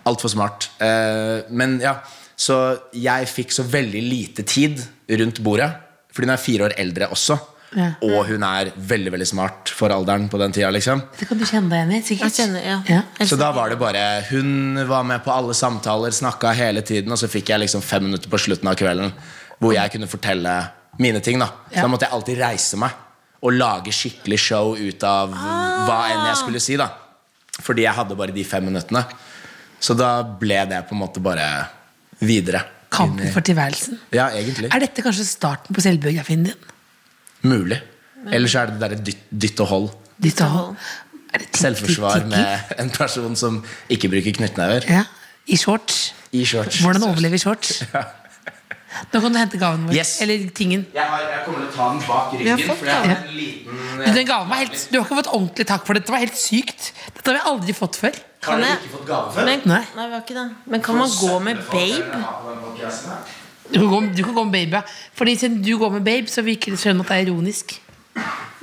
altfor smart. Eh, men ja, så jeg fikk så veldig lite tid rundt bordet. Fordi hun er fire år eldre også.
Ja.
Og hun er veldig veldig smart for alderen på den tida. Liksom.
Det kan du kjenne deg igjen i,
Jeg
sikkert.
kjenner, ja.
Ja.
Så da var det bare Hun var med på alle samtaler, snakka hele tiden, og så fikk jeg liksom fem minutter på slutten av kvelden hvor jeg kunne fortelle mine ting. da Så
Ja.
da måtte jeg alltid reise meg og lage skikkelig show ut av hva enn jeg skulle si. da Fordi jeg hadde bare de fem minuttene. Så da ble det på en måte bare videre.
Kampen for tilværelsen.
Ja, egentlig.
Er dette kanskje starten på selvbiografien din?
Mulig. Ellers er det derre dytt, dytt og hold.
Ditt og hold. Er det tit-
Selvforsvar
tit- tittel?
med en person som ikke bruker knyttnever.
Ja. I shorts.
I shorts.
Hvordan overleve i shorts? Nå kan du hente gaven vår.
Yes.
Eller tingen.
Jeg, har, jeg kommer til å ta den bak
har
ryggen.
fått
for jeg har
den.
en liten eh,
Du, den gaven var helt, du har ikke fått ordentlig takk for det. Dette var helt sykt. Dette har vi aldri fått før.
Har
Kan
dere
jeg-
ikke fått gave før?
Men,
Nei.
nei, vi har ikke det. Men kan man gå med babe?
Du kan gå, du kan gå med babe. ja. Fordi siden du går med babe, så virker det skjønn at det er ironisk.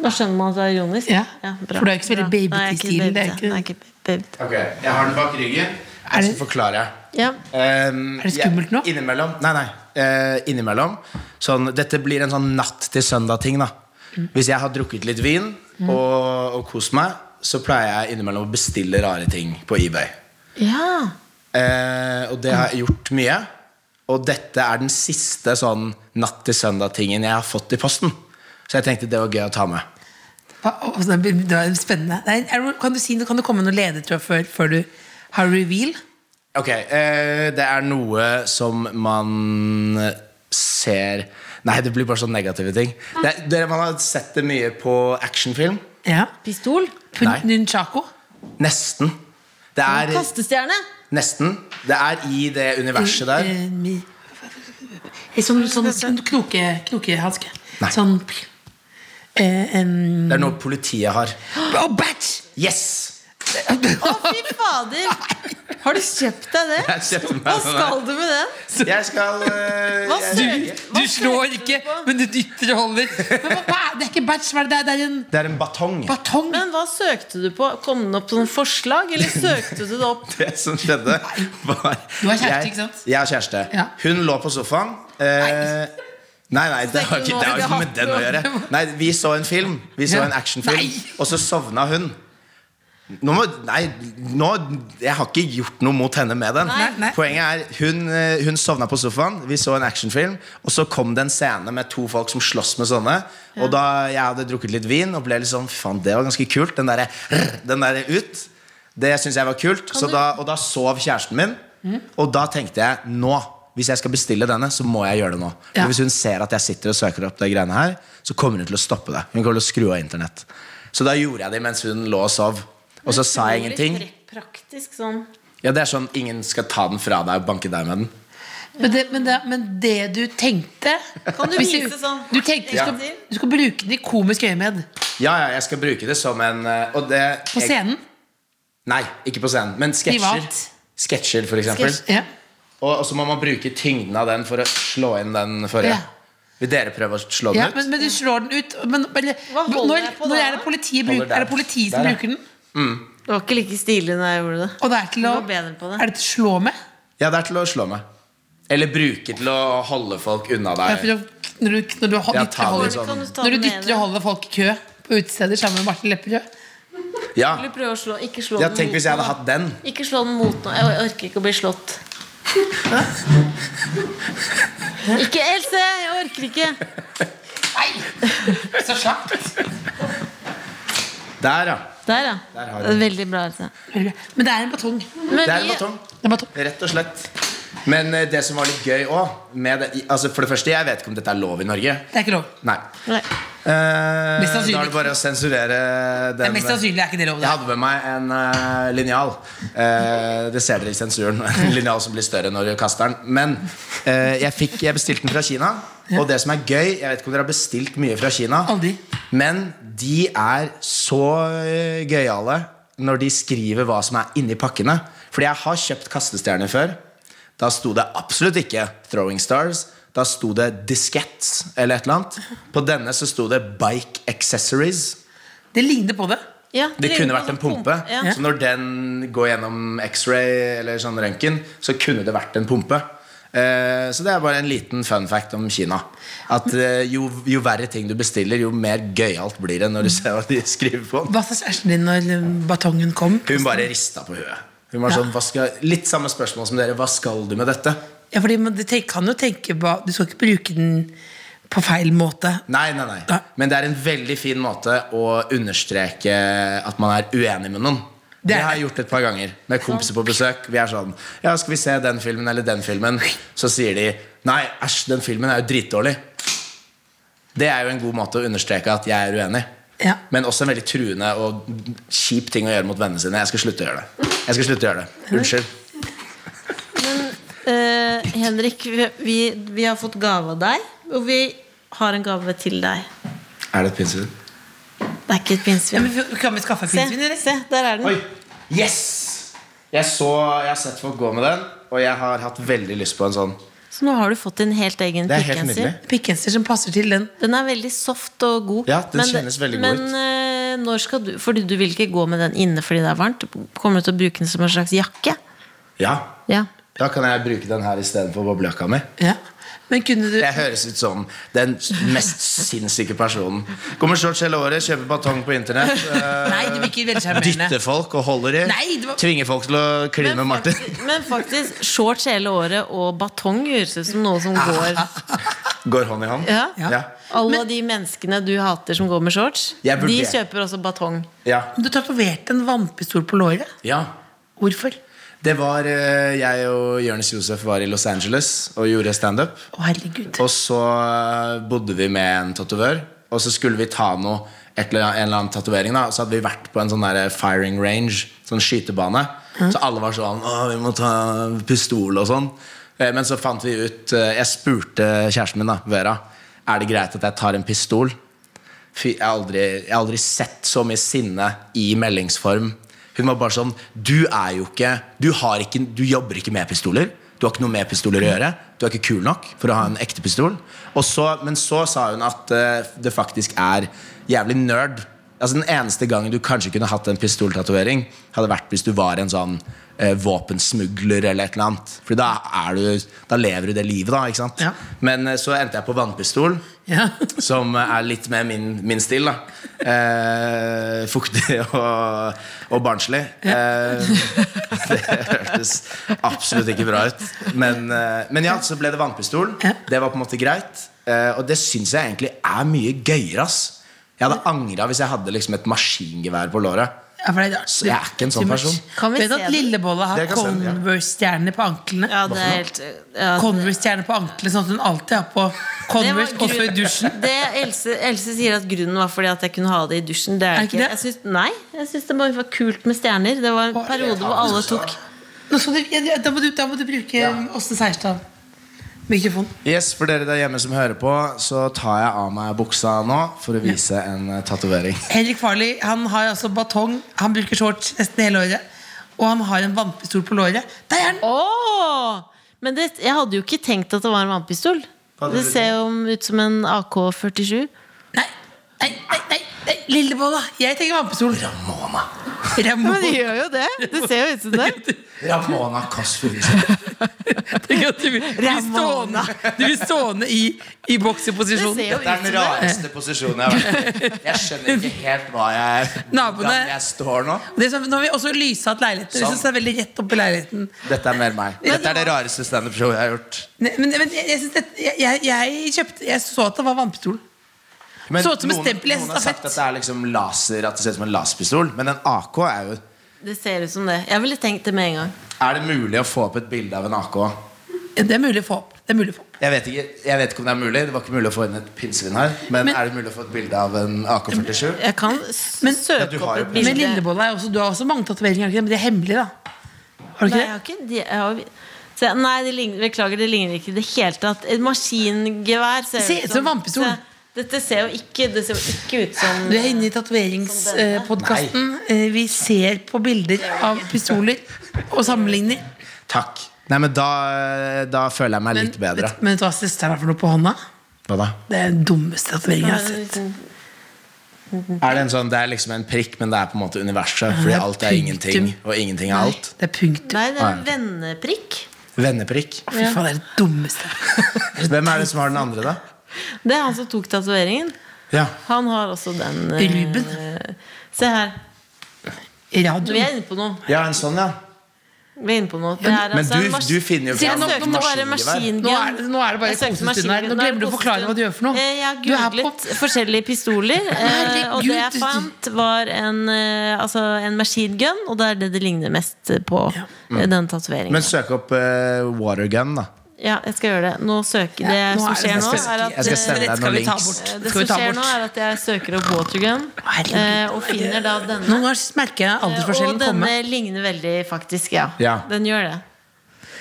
Da skjønner man at det er ironisk.
Ja.
bra.
For du er ikke så veldig
Bra.
baby
Nei, jeg
til stilen,
baby
det er
til.
ikke-
Nei, jeg baby til.
Ok, Jeg har den bak ryggen.
Er
Jeg skal
det-
forklare.
Ja.
Um,
Er det skummelt nå?
jeg- Innimellom. Nei, nei. eh, innimellom. Sånn, dette blir en sånn natt til søndag-ting. da Hvis jeg har drukket litt vin
Mm.
og, og kost meg, så pleier jeg innimellom å bestille rare ting på eBay.
ja.
Eh, og det har jeg gjort mye. Og dette er den siste sånn natt til søndag-tingen jeg har fått i posten. Så jeg tenkte det var gøy å ta med.
Hva- å, Det er det er spennende. Nei, er det- Kan du, si, kan du komme med noen ledetråd før, før du har reveal?
Ok, eh, det er noe som man ser Nei, det blir bare sånne negative ting. Det, er- dere, man har sett det mye på actionfilm.
Ja.
Pistol?
Nei.
Nunchako?
Nesten. Det er
Kastestjerne?
nesten. Det er i det universet der.
Eh, mi- En sånn, sånn, sånn knoke, knokehanske.
Nei.
Sånn eh, en,
Det er noe politiet har.
Å, batch!
Yes!
Fy fader! Har du kjøpt deg det?
Jeg kjøpte meg sånn, den
Hva
der.
skal du med den?
Jeg skal eh,
Hva
jeg-
søker
Du
Hva
slår
søker
ikke,
du på?
men du dytter og holder. Men hva, hva er- det er ikke batch, hva er det? det er- Det er en
Det er en batong.
batong.
Men hva søkte du på? Kom det opp noen forslag, eller søkte du det opp?
Det som skjedde, var
Du har kjæreste,
jeg-
ikke sant?
Jeg har kjæreste.
Ja.
Hun lå på sofaen. Eh, nei, nei, det har ikke, det har ikke med den å gjøre. Nei, Vi så en film, Vi så
Ja.
en actionfilm,
Nei.
og så sovna hun. Nå må, nei, nå, jeg har ikke gjort noe mot henne med den.
Nei, nei.
Poenget er hun, eh, hun sovna på sofaen, vi så en actionfilm, og så kom det en scene med to folk som slåss med sånne. Og da jeg hadde drukket litt vin og ble litt sånn Faen, det var ganske kult. Den derre den der ut. Det syns jeg var kult. Så da, og da sov kjæresten min. Og da tenkte jeg nå, hvis jeg skal bestille denne, så må jeg gjøre det nå. For
Ja.
Hvis hun ser at jeg sitter og søker opp de greiene her, så kommer hun til å stoppe det. Hun kommer til å skru av internett. Så da gjorde jeg det mens hun lå og sov. Og så sa jeg ingenting.
Litt Praktisk sånn.
Ja, det er sånn ingen skal ta den fra deg og banke deg med den.
Men det, men, det, men det du tenkte
Kan du
Hvis
vise sånn?
Du tenkte du skal,
Ja.
du skal bruke den i komisk øyemed.
Ja, ja, jeg skal bruke det som en eh, og det,
På scenen.
Nei, ikke på scenen, men sketsjer.
Privat.
Sketsjer, for eksempel.
Sketsj.
Ja.
Og, og så må man bruke tyngden av den for å slå inn den forrige.
Ja.
Vil dere prøve å slå den
Ja,
ut?
men, men du slår den ut. Men, men,
Hva holder
når,
jeg på
når
da?
er det politiet,
Holder
bruker, er det
der.
politiet som
Der, ja.
bruker den?
Det var ikke like stilig når jeg gjorde det.
Og det er til å,
Du var bedre på det.
er det til å slå med?
Ja, det er til å slå meg. Eller bruke til å holde folk unna
Ja,
deg.
for da- når du, når du, ho-
Ja,
dytter,
ta
og
den
holder,
litt sånn.
Kan du ta
når du
den
dytter
ene?
og holder folk i kø på utesteder sammen med Martin Lepperød
Ja.
Vil du prøve å slå? Ikke slå
ja,
den
Tenk
mot
hvis jeg hadde
noe.
hatt den.
Ikke slå den mot noe. Jeg orker ikke å bli slått. Ikke Else! Jeg orker ikke.
Så slakt!
Der, ja.
Der, ja.
Der har
Det er Veldig bra. Else.
Men det er en batong.
Men
Det er en
vi-
batong.
Det er en batong.
Rett og slett. Men eh, det som var litt gøy òg altså For det første, jeg vet ikke om dette er lov i Norge.
Det er ikke lov.
Nei.
Nei.
Eh, da
sannsynlig
er det bare å sensurere
Det
den.
er mest sannsynlig er ikke det lov.
Jeg
Det.
hadde med meg en uh, linjal. Eh, det ser dere i sensuren. En linjal som blir større når du kaster den. Men eh, jeg, fikk, jeg bestilte den fra Kina. Og det som er gøy Jeg vet ikke om dere har bestilt mye fra Kina.
Aldri.
Men de er så eh, gøyale når de skriver hva som er inni pakkene. Fordi jeg har kjøpt kastestjerner før. Da sto det absolutt ikke 'Throwing Stars'. Da sto det 'Diskettes' eller et eller annet. På denne så sto det 'Bike Accessories'.
Det ligner på det.
Ja,
Det
ligner
kunne
på
vært en
sånn
pumpe.
Ja.
Så når den går gjennom X-ray eller sånn røntgen, så kunne det vært en pumpe. Eh, Så det er bare en liten fun fact om Kina. At eh, jo, jo verre ting du bestiller, jo mer gøyalt blir det når du ser hva de skriver på. den.
Hva sa kjæresten din når eh, batongen kom?
Hun bare rista på huet. Hun var sånn, hva skal, Litt samme spørsmål som dere. Hva skal du med dette?
Ja, fordi man det tenk- kan jo tenke på Du skal ikke bruke den på feil måte.
Nei, nei, nei.
Nei.
Men det er en veldig fin måte å understreke at man er uenig med noen.
Det
Det
er
har
det.
jeg gjort et par ganger med kompiser på besøk. Vi er sånn Ja, skal vi se den filmen eller den filmen? Så sier de Nei, æsj, den filmen er jo dritdårlig. Det er jo en god måte å understreke at jeg er uenig.
Ja.
Men også en veldig truende og kjip ting å gjøre mot vennene sine. Jeg skal slutte å gjøre det. Jeg skal slutte å gjøre det. Unnskyld.
Eh, Henrik, vi, vi, vi har fått gave av deg, og vi har en gave til deg.
Er det et pinnsvin?
Det er ikke et
Ja,
pinnsvin.
men vi- Kan vi skaffe en
Se,
pinnsvin, eller?
se, der er den.
Oi! Yes! Jeg, så, jeg har sett folk gå med den, og jeg har hatt veldig lyst på en sånn.
Så nå har du fått din helt egen
Det er helt
pikkgenser.
nydelig.
Pikkgenser som passer til den.
Den er veldig soft og god.
Ja, den kjennes veldig god
men,
ut.
eh, når skal du Fordi du vil ikke gå med den inne fordi det er varmt. Kommer du til å bruke den som en slags jakke?
Ja,
Ja.
da kan jeg bruke den her istedenfor boblejakka mi.
Ja. Men kunne du
Jeg høres ut som den mest sinnssyke personen. Kommer shorts hele året, kjøper batong på internett. eh,
Nei, du virker veldig sjarmerende.
Dytter folk og holder i.
Nei, det var-
Tvinger folk til å kline med Martin.
faktisk, men faktisk, shorts hele året og batong høres ut som noe som går
Går hånd i hånd.
Ja.
Ja.
Alle de menneskene du hater som går med shorts,
Jeg burde-
de kjøper også batong.
ja.
Du tatoverte en vannpistol på låret.
ja.
Hvorfor?
Det var eh, Jeg og Jonis Josef var i Los Angeles og gjorde standup.
Å, herregud.
Og så eh, bodde vi med en tatovør, og så skulle vi ta noe et eller annet, en eller annen tatovering. da, Så hadde vi vært på en sånn der firing range, sånn skytebane. Så alle var sånn Å, vi må ta pistol og sånn. Eh, Men så fant vi ut eh, Jeg spurte kjæresten min, da, Vera, er det greit at jeg tar en pistol. Fy, jeg, har aldri, jeg har aldri sett så mye sinne i meldingsform. Hun var bare sånn Du er jo ikke Du, har ikke, du jobber ikke med pistoler. Du har ikke noe med pistoler å gjøre. Du er ikke kul nok for å ha en ekte pistol. Og så, men så sa hun at eh, det faktisk er jævlig nerd. Altså Den eneste gangen du kanskje kunne hatt en pistoltatovering, hadde vært hvis du var en sånn eh, våpensmugler eller et eller annet. Fordi da, er du, da lever du det livet, da. ikke sant?
Ja.
Men eh, så endte jeg på vannpistol
Ja.
som er litt mer min, min stil. da eh, Fuktig og, og barnslig. Eh, det hørtes absolutt ikke bra ut. Men, eh, men ja, så ble det vannpistol.
Ja.
Det var på en måte greit. Eh, og det syns jeg egentlig er mye gøyere. ass Jeg hadde angra hvis jeg hadde liksom et maskingevær på låret.
Ja, for det er rart.
Så jeg er ikke en sånn person.
Kan vi
Vet du
se
at
den?
Lillebolla har
Dere kan se den, ja.
Converse-stjerner på anklene?
Ja, det er helt ja,
Converse-stjerner på anklene, sånn at hun alltid har på
Det var
Converse
grunn-
også i dusjen.
Det Else, Else sier at grunnen var fordi at jeg kunne ha det i dusjen. Det er det
ikke
ikke.
det?
Jeg syns- nei, jeg syns det bare var kult med stjerner. Det var en periode hvor alle tok
Nå skal du, ja, ja, da, må du, da må du bruke Åsne Seierstad. Mikrofon.
Yes, For dere der hjemme som hører på, så tar jeg av meg buksa nå for å vise en eh, tatovering.
Henrik Farley han har altså batong, han bruker shorts nesten hele året. Og han har en vannpistol på låret. Der er den!
Åh! Men det, jeg hadde jo ikke tenkt at det var en vannpistol.
Hva hadde
Det
du
ser jo ut som en AK-47.
Nei, nei, nei, nei, nei. Lillebolla, jeg tenker vannpistol.
Ramona.
Ramon.
gjør jo det! Det ser jo ut som det.
Ramona Kåss Furuseth.
Tenk at Du blir du blir stående, du blir stående i, i bokseposisjon.
Det ser jo
Det er den rareste posisjonen jeg har vært i. Jeg skjønner ikke helt hva jeg,
Naboene-
hvordan jeg står nå.
Det er sånn- nå har vi også lysa ut leiligheten. Jeg
Sånn.
synes det er veldig rett opp i leiligheten
Dette er mer meg. Dette er det rareste standup-showet jeg har gjort.
Nei, Men, men jeg, jeg, synes det, jeg, jeg, jeg, kjøpte, jeg så at det var vannpistol.
Men
Så ut som et
noen,
stempel i
noen har
stafett.
sagt at det er liksom laser, at det ser ut som en laserpistol, men en AK er jo
Det ser ut som det. Jeg ville tenkt det med en gang.
Er det mulig å få opp et bilde av en AK?
Ja, Det er mulig å få opp. Det er mulig å få opp.
Jeg vet, ikke, jeg vet ikke om det er mulig. Det var ikke mulig å få inn et pinnsvin her. Men,
Men-
er det mulig å få et bilde av en AK-47?
Jeg kan s-
Men-
Ja, du
søke
har
opp
jo
et
pinnsvin.
Men
bilde.
Lillebolla er også, du har også mange tatoveringer, har du ikke det? men de er hemmelige, da. Har du ikke
Nei, jeg har
det?
ikke de, jeg har, se, nei det ligner, beklager, det ligner ikke i det hele tatt. Et maskingevær ser
Det ser ut som vannpistol.
Se, Dette ser jo ikke, det ser jo ikke ut som
Du er inne i tatoveringspodkasten. Vi ser på bilder av pistoler og sammenligner.
Takk. Nei, men da, da føler jeg meg litt bedre.
vet, men vet du hva søsteren har for noe på hånda?
Hva da?
Det er den dummeste tatoveringen jeg har sett.
Er det, en sånn, det er liksom en prikk, men det er på en måte universet. Fordi
det er
alt er ingenting,
punktum.
og ingenting er alt.
Det er punktum.
Nei, det er en venneprikk.
Venneprikk.
Fy faen, det er det dummeste.
Hvem er det som har den andre, da?
Det er han som tok tatoveringen.
Ja.
Han har også den. eh,
Ruben.
Se her. Vi
Radio.
er inne på noe.
ja, en sånn, ja.
Vi er inne på noe. Det er
Men
altså en
du,
mas-
du finner jo
Sier
Jeg
fram
nå-
søkte
nå-
bare
maskingevær.
maskingevær.
Nå er det- nå er det bare
Jeg søkte
kosestund her.
maskingevær.
Nå
Da er
glemmer du å
kosestund.
forklare hva du gjør for noe.
Eh, Jeg har
Du er på-
googlet forskjellige pistoler, eh, og det jeg
Herregud.
fant, var en, eh, altså en machine gun, og det er det det ligner mest på eh, den tatoveringen.
Men søk opp eh, watergun, da.
Ja, jeg skal gjøre det. Nå søker
Ja,
Det
nå
som
er det
skjer nå,
neste-
er at
Jeg skal
eh,
sende
Dette
deg
skal
noen
vi ta
links.
bort.
Det
Skal vi
som
ta
skjer nå,
bort.
er at jeg søker opp watergun,
Herregud.
eh, og finner da denne. Eh,
Noen ganger merker jeg
Og
aldersforskjellen
denne
komme.
ligner veldig, faktisk. Ja.
Ja.
Den gjør det.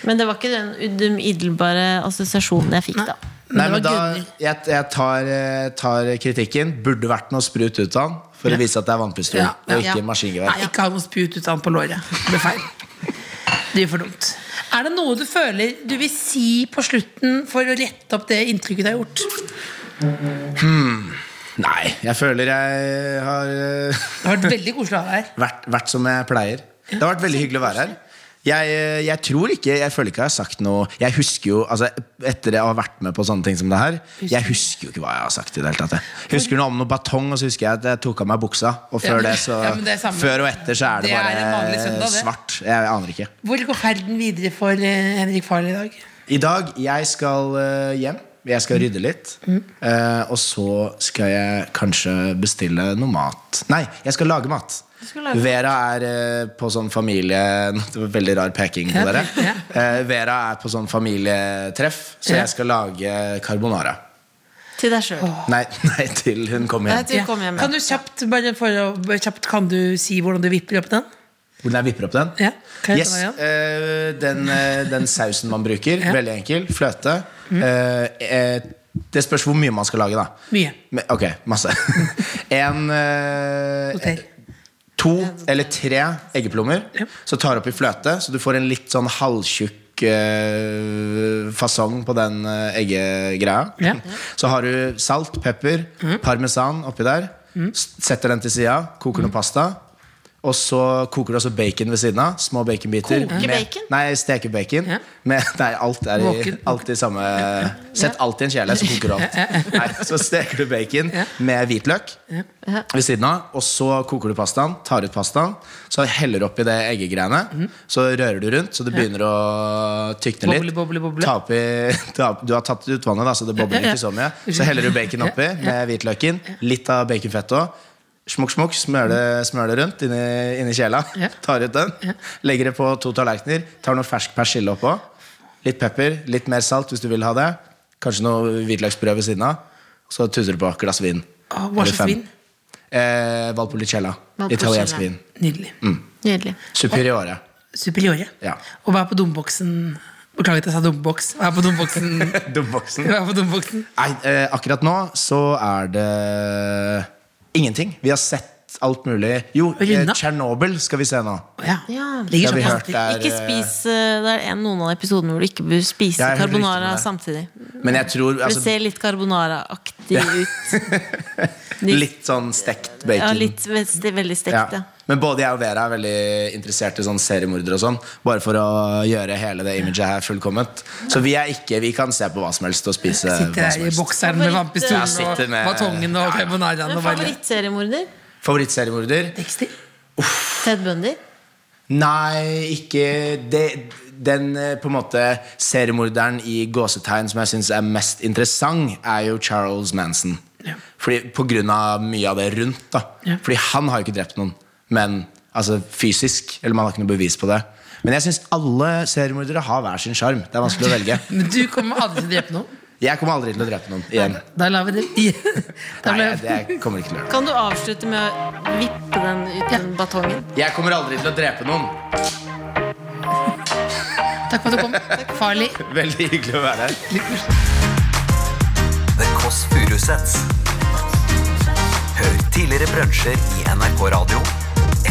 Men det var ikke den umiddelbare assosiasjonen jeg fikk, da.
Nei,
Men
men
det
da,
var
jeg, jeg tar, eh, tar kritikken. Burde vært noe sprut ut av den for å vise at det er vannpistol
Ja, ja.
og ikke maskingevær.
Nei, ikke ha noe spjut ut av den på låret. Det blir feil. Det er for dumt. Er det noe du føler du vil si på slutten for å rette opp det inntrykket du har gjort?
Hmm. Nei, jeg føler jeg har eh,
Det har vært veldig koselig å ha deg her.
vært, vært som jeg pleier. Det har vært veldig hyggelig å være her. Jeg, eh, jeg tror ikke, jeg føler ikke jeg har sagt noe Jeg husker jo, altså Etter å ha vært med på sånne ting som det her Jeg husker jo ikke hva jeg har sagt. i det hele tatt jeg. Jeg husker noe om noe batong, og så husker jeg at jeg tok av meg buksa. Og
Ja, men-
før det, så
ja, men det er samme.
Før og etter så er det,
Det er en vanlig
bare
søndag, det.
svart. Jeg aner ikke.
Hvor går ferden videre for eh, Henrik Farley i dag?
I dag, jeg skal eh, hjem Jeg skal rydde litt
Mm.
Eh, Og så skal jeg kanskje bestille noe mat Nei, jeg skal lage mat
skal lage
Vera er eh, på sånn familie Det var veldig rar peking på dere Eh, Vera er på sånn familietreff Så
Ja.
jeg skal lage carbonara
Til deg sjøl.
Nei, nei til hun kommer
Nei,
hjem
til- Du kom hjem, ja.
Kan du kjapt, bare for å, bare kjapt Kan du si hvordan du vipper opp den?
Hvordan jeg vipper opp den?
Ja, kan jeg
yes,
ta meg
eh, den, eh, den sausen man bruker,
Ja. Mm.
veldig enkel, fløte Eh, eh, Det spørs hvor mye man skal lage da
Mye.
Men, ok, masse. en eh,
Hotell.
To eller tre eggeplommer.
Ja.
Så tar du oppi fløte, så du får en litt sånn halvtjukk eh, fasong på den eh, eggegreia.
Ja. Mm.
Så har du salt, pepper, parmesan oppi der. S- Setter den til sida,
Mm.
koker noe pasta. Og så koker du også bacon ved siden av. Små baconbiter.
Koker
med-
bacon?
Nei, steker bacon.
Ja.
Med, nei, alt er i,
Våken.
alt i samme Sett alt i en kjele, så koker du alt. Nei, så steker du bacon med hvitløk ved siden av. Og så koker du pastaen, tar ut pastaen, så heller du oppi det eggegreiene. Så rører du rundt, så det begynner å tykne litt.
Boble, boble, boble.
Ta oppi, ta, opp- du har tatt ut vannet, da, så det bobler
Ja, ja.
ikke så mye. Så heller du bacon oppi med hvitløken. Litt av baconfett òg. Smukk, smukk, smør det, smør det rundt inni, inni kjela.
Ja.
Tar ut den. Legger det på to tallerkener. Tar noe fersk persille oppå. Litt pepper, litt mer salt hvis du vil ha det. Kanskje noe hvitløksbrød ved siden av. Så tuser du på et glass vin.
Å, hva
Eller
slags
fem.
vin?
Eh, Valpolicella.
Valpolicella.
Italiensk vin.
Nydelig.
Nydelig.
Superiore.
Superiore.
mm. Ja.
Og hva er på dumboksen? Beklager at jeg sa dumboks. Hva er på dumboksen?
Dumboksen.
Hva er på dumboksen?
Nei, eh, akkurat nå så er det ingenting. Vi har sett alt mulig. Jo, eh,
Runda?
Tsjernobyl skal vi se nå.
Å ja.
Ja.
Det har
Ligger
vi
sånn
hørt
fast.
der.
Ikke spis eh, Det er en, noen av episodene hvor du ikke bør spise
Jeg er helt riktig med
carbonara
det.
samtidig. For
Men jeg tror
det
altså,
ser litt carbonara-aktig ut. De-
litt sånn stekt bacon.
ja, litt veldig, veldig stekt,
Ja.
ja.
Men både jeg og Vera er veldig interessert i sånn seriemordere og sånn. Bare for å gjøre hele det imaget her fullkomment. Så vi er ikke Vi kan se på hva som helst og spise hva som
Sitter der i
helst.
bokseren med
Favoritt- Ja,
vannpistolen og
sitter med-
batongen og carbonaraen
Men
og bare
Favorittseriemorder?
Favorittseriemorder?
Tekstil.
Ted Bundy?
Nei, ikke det, Den eh, på en måte seriemorderen i gåsetegn som jeg syns er mest interessant, er jo Charles Manson.
Ja.
Fordi, på grunn av mye av det rundt. da
Ja.
Fordi han har jo ikke drept noen. Men altså fysisk. Eller man har ikke noe bevis på det. Men jeg syns alle seriemordere har hver sin sjarm. Det er vanskelig å velge.
Men du kommer aldri til å drepe noen.
Jeg kommer aldri til å drepe noen igjen.
Da lar vi det. Da
Nei,
lar vi-
det jeg kommer ikke til å gjøre.
Kan du avslutte med å vippe den ut den batongen?
Jeg kommer aldri til å drepe noen.
Takk for at du kom. Farlig.
Veldig hyggelig å være her.
The Kåss Furuseths. Hør tidligere brunsjer i NRK Radio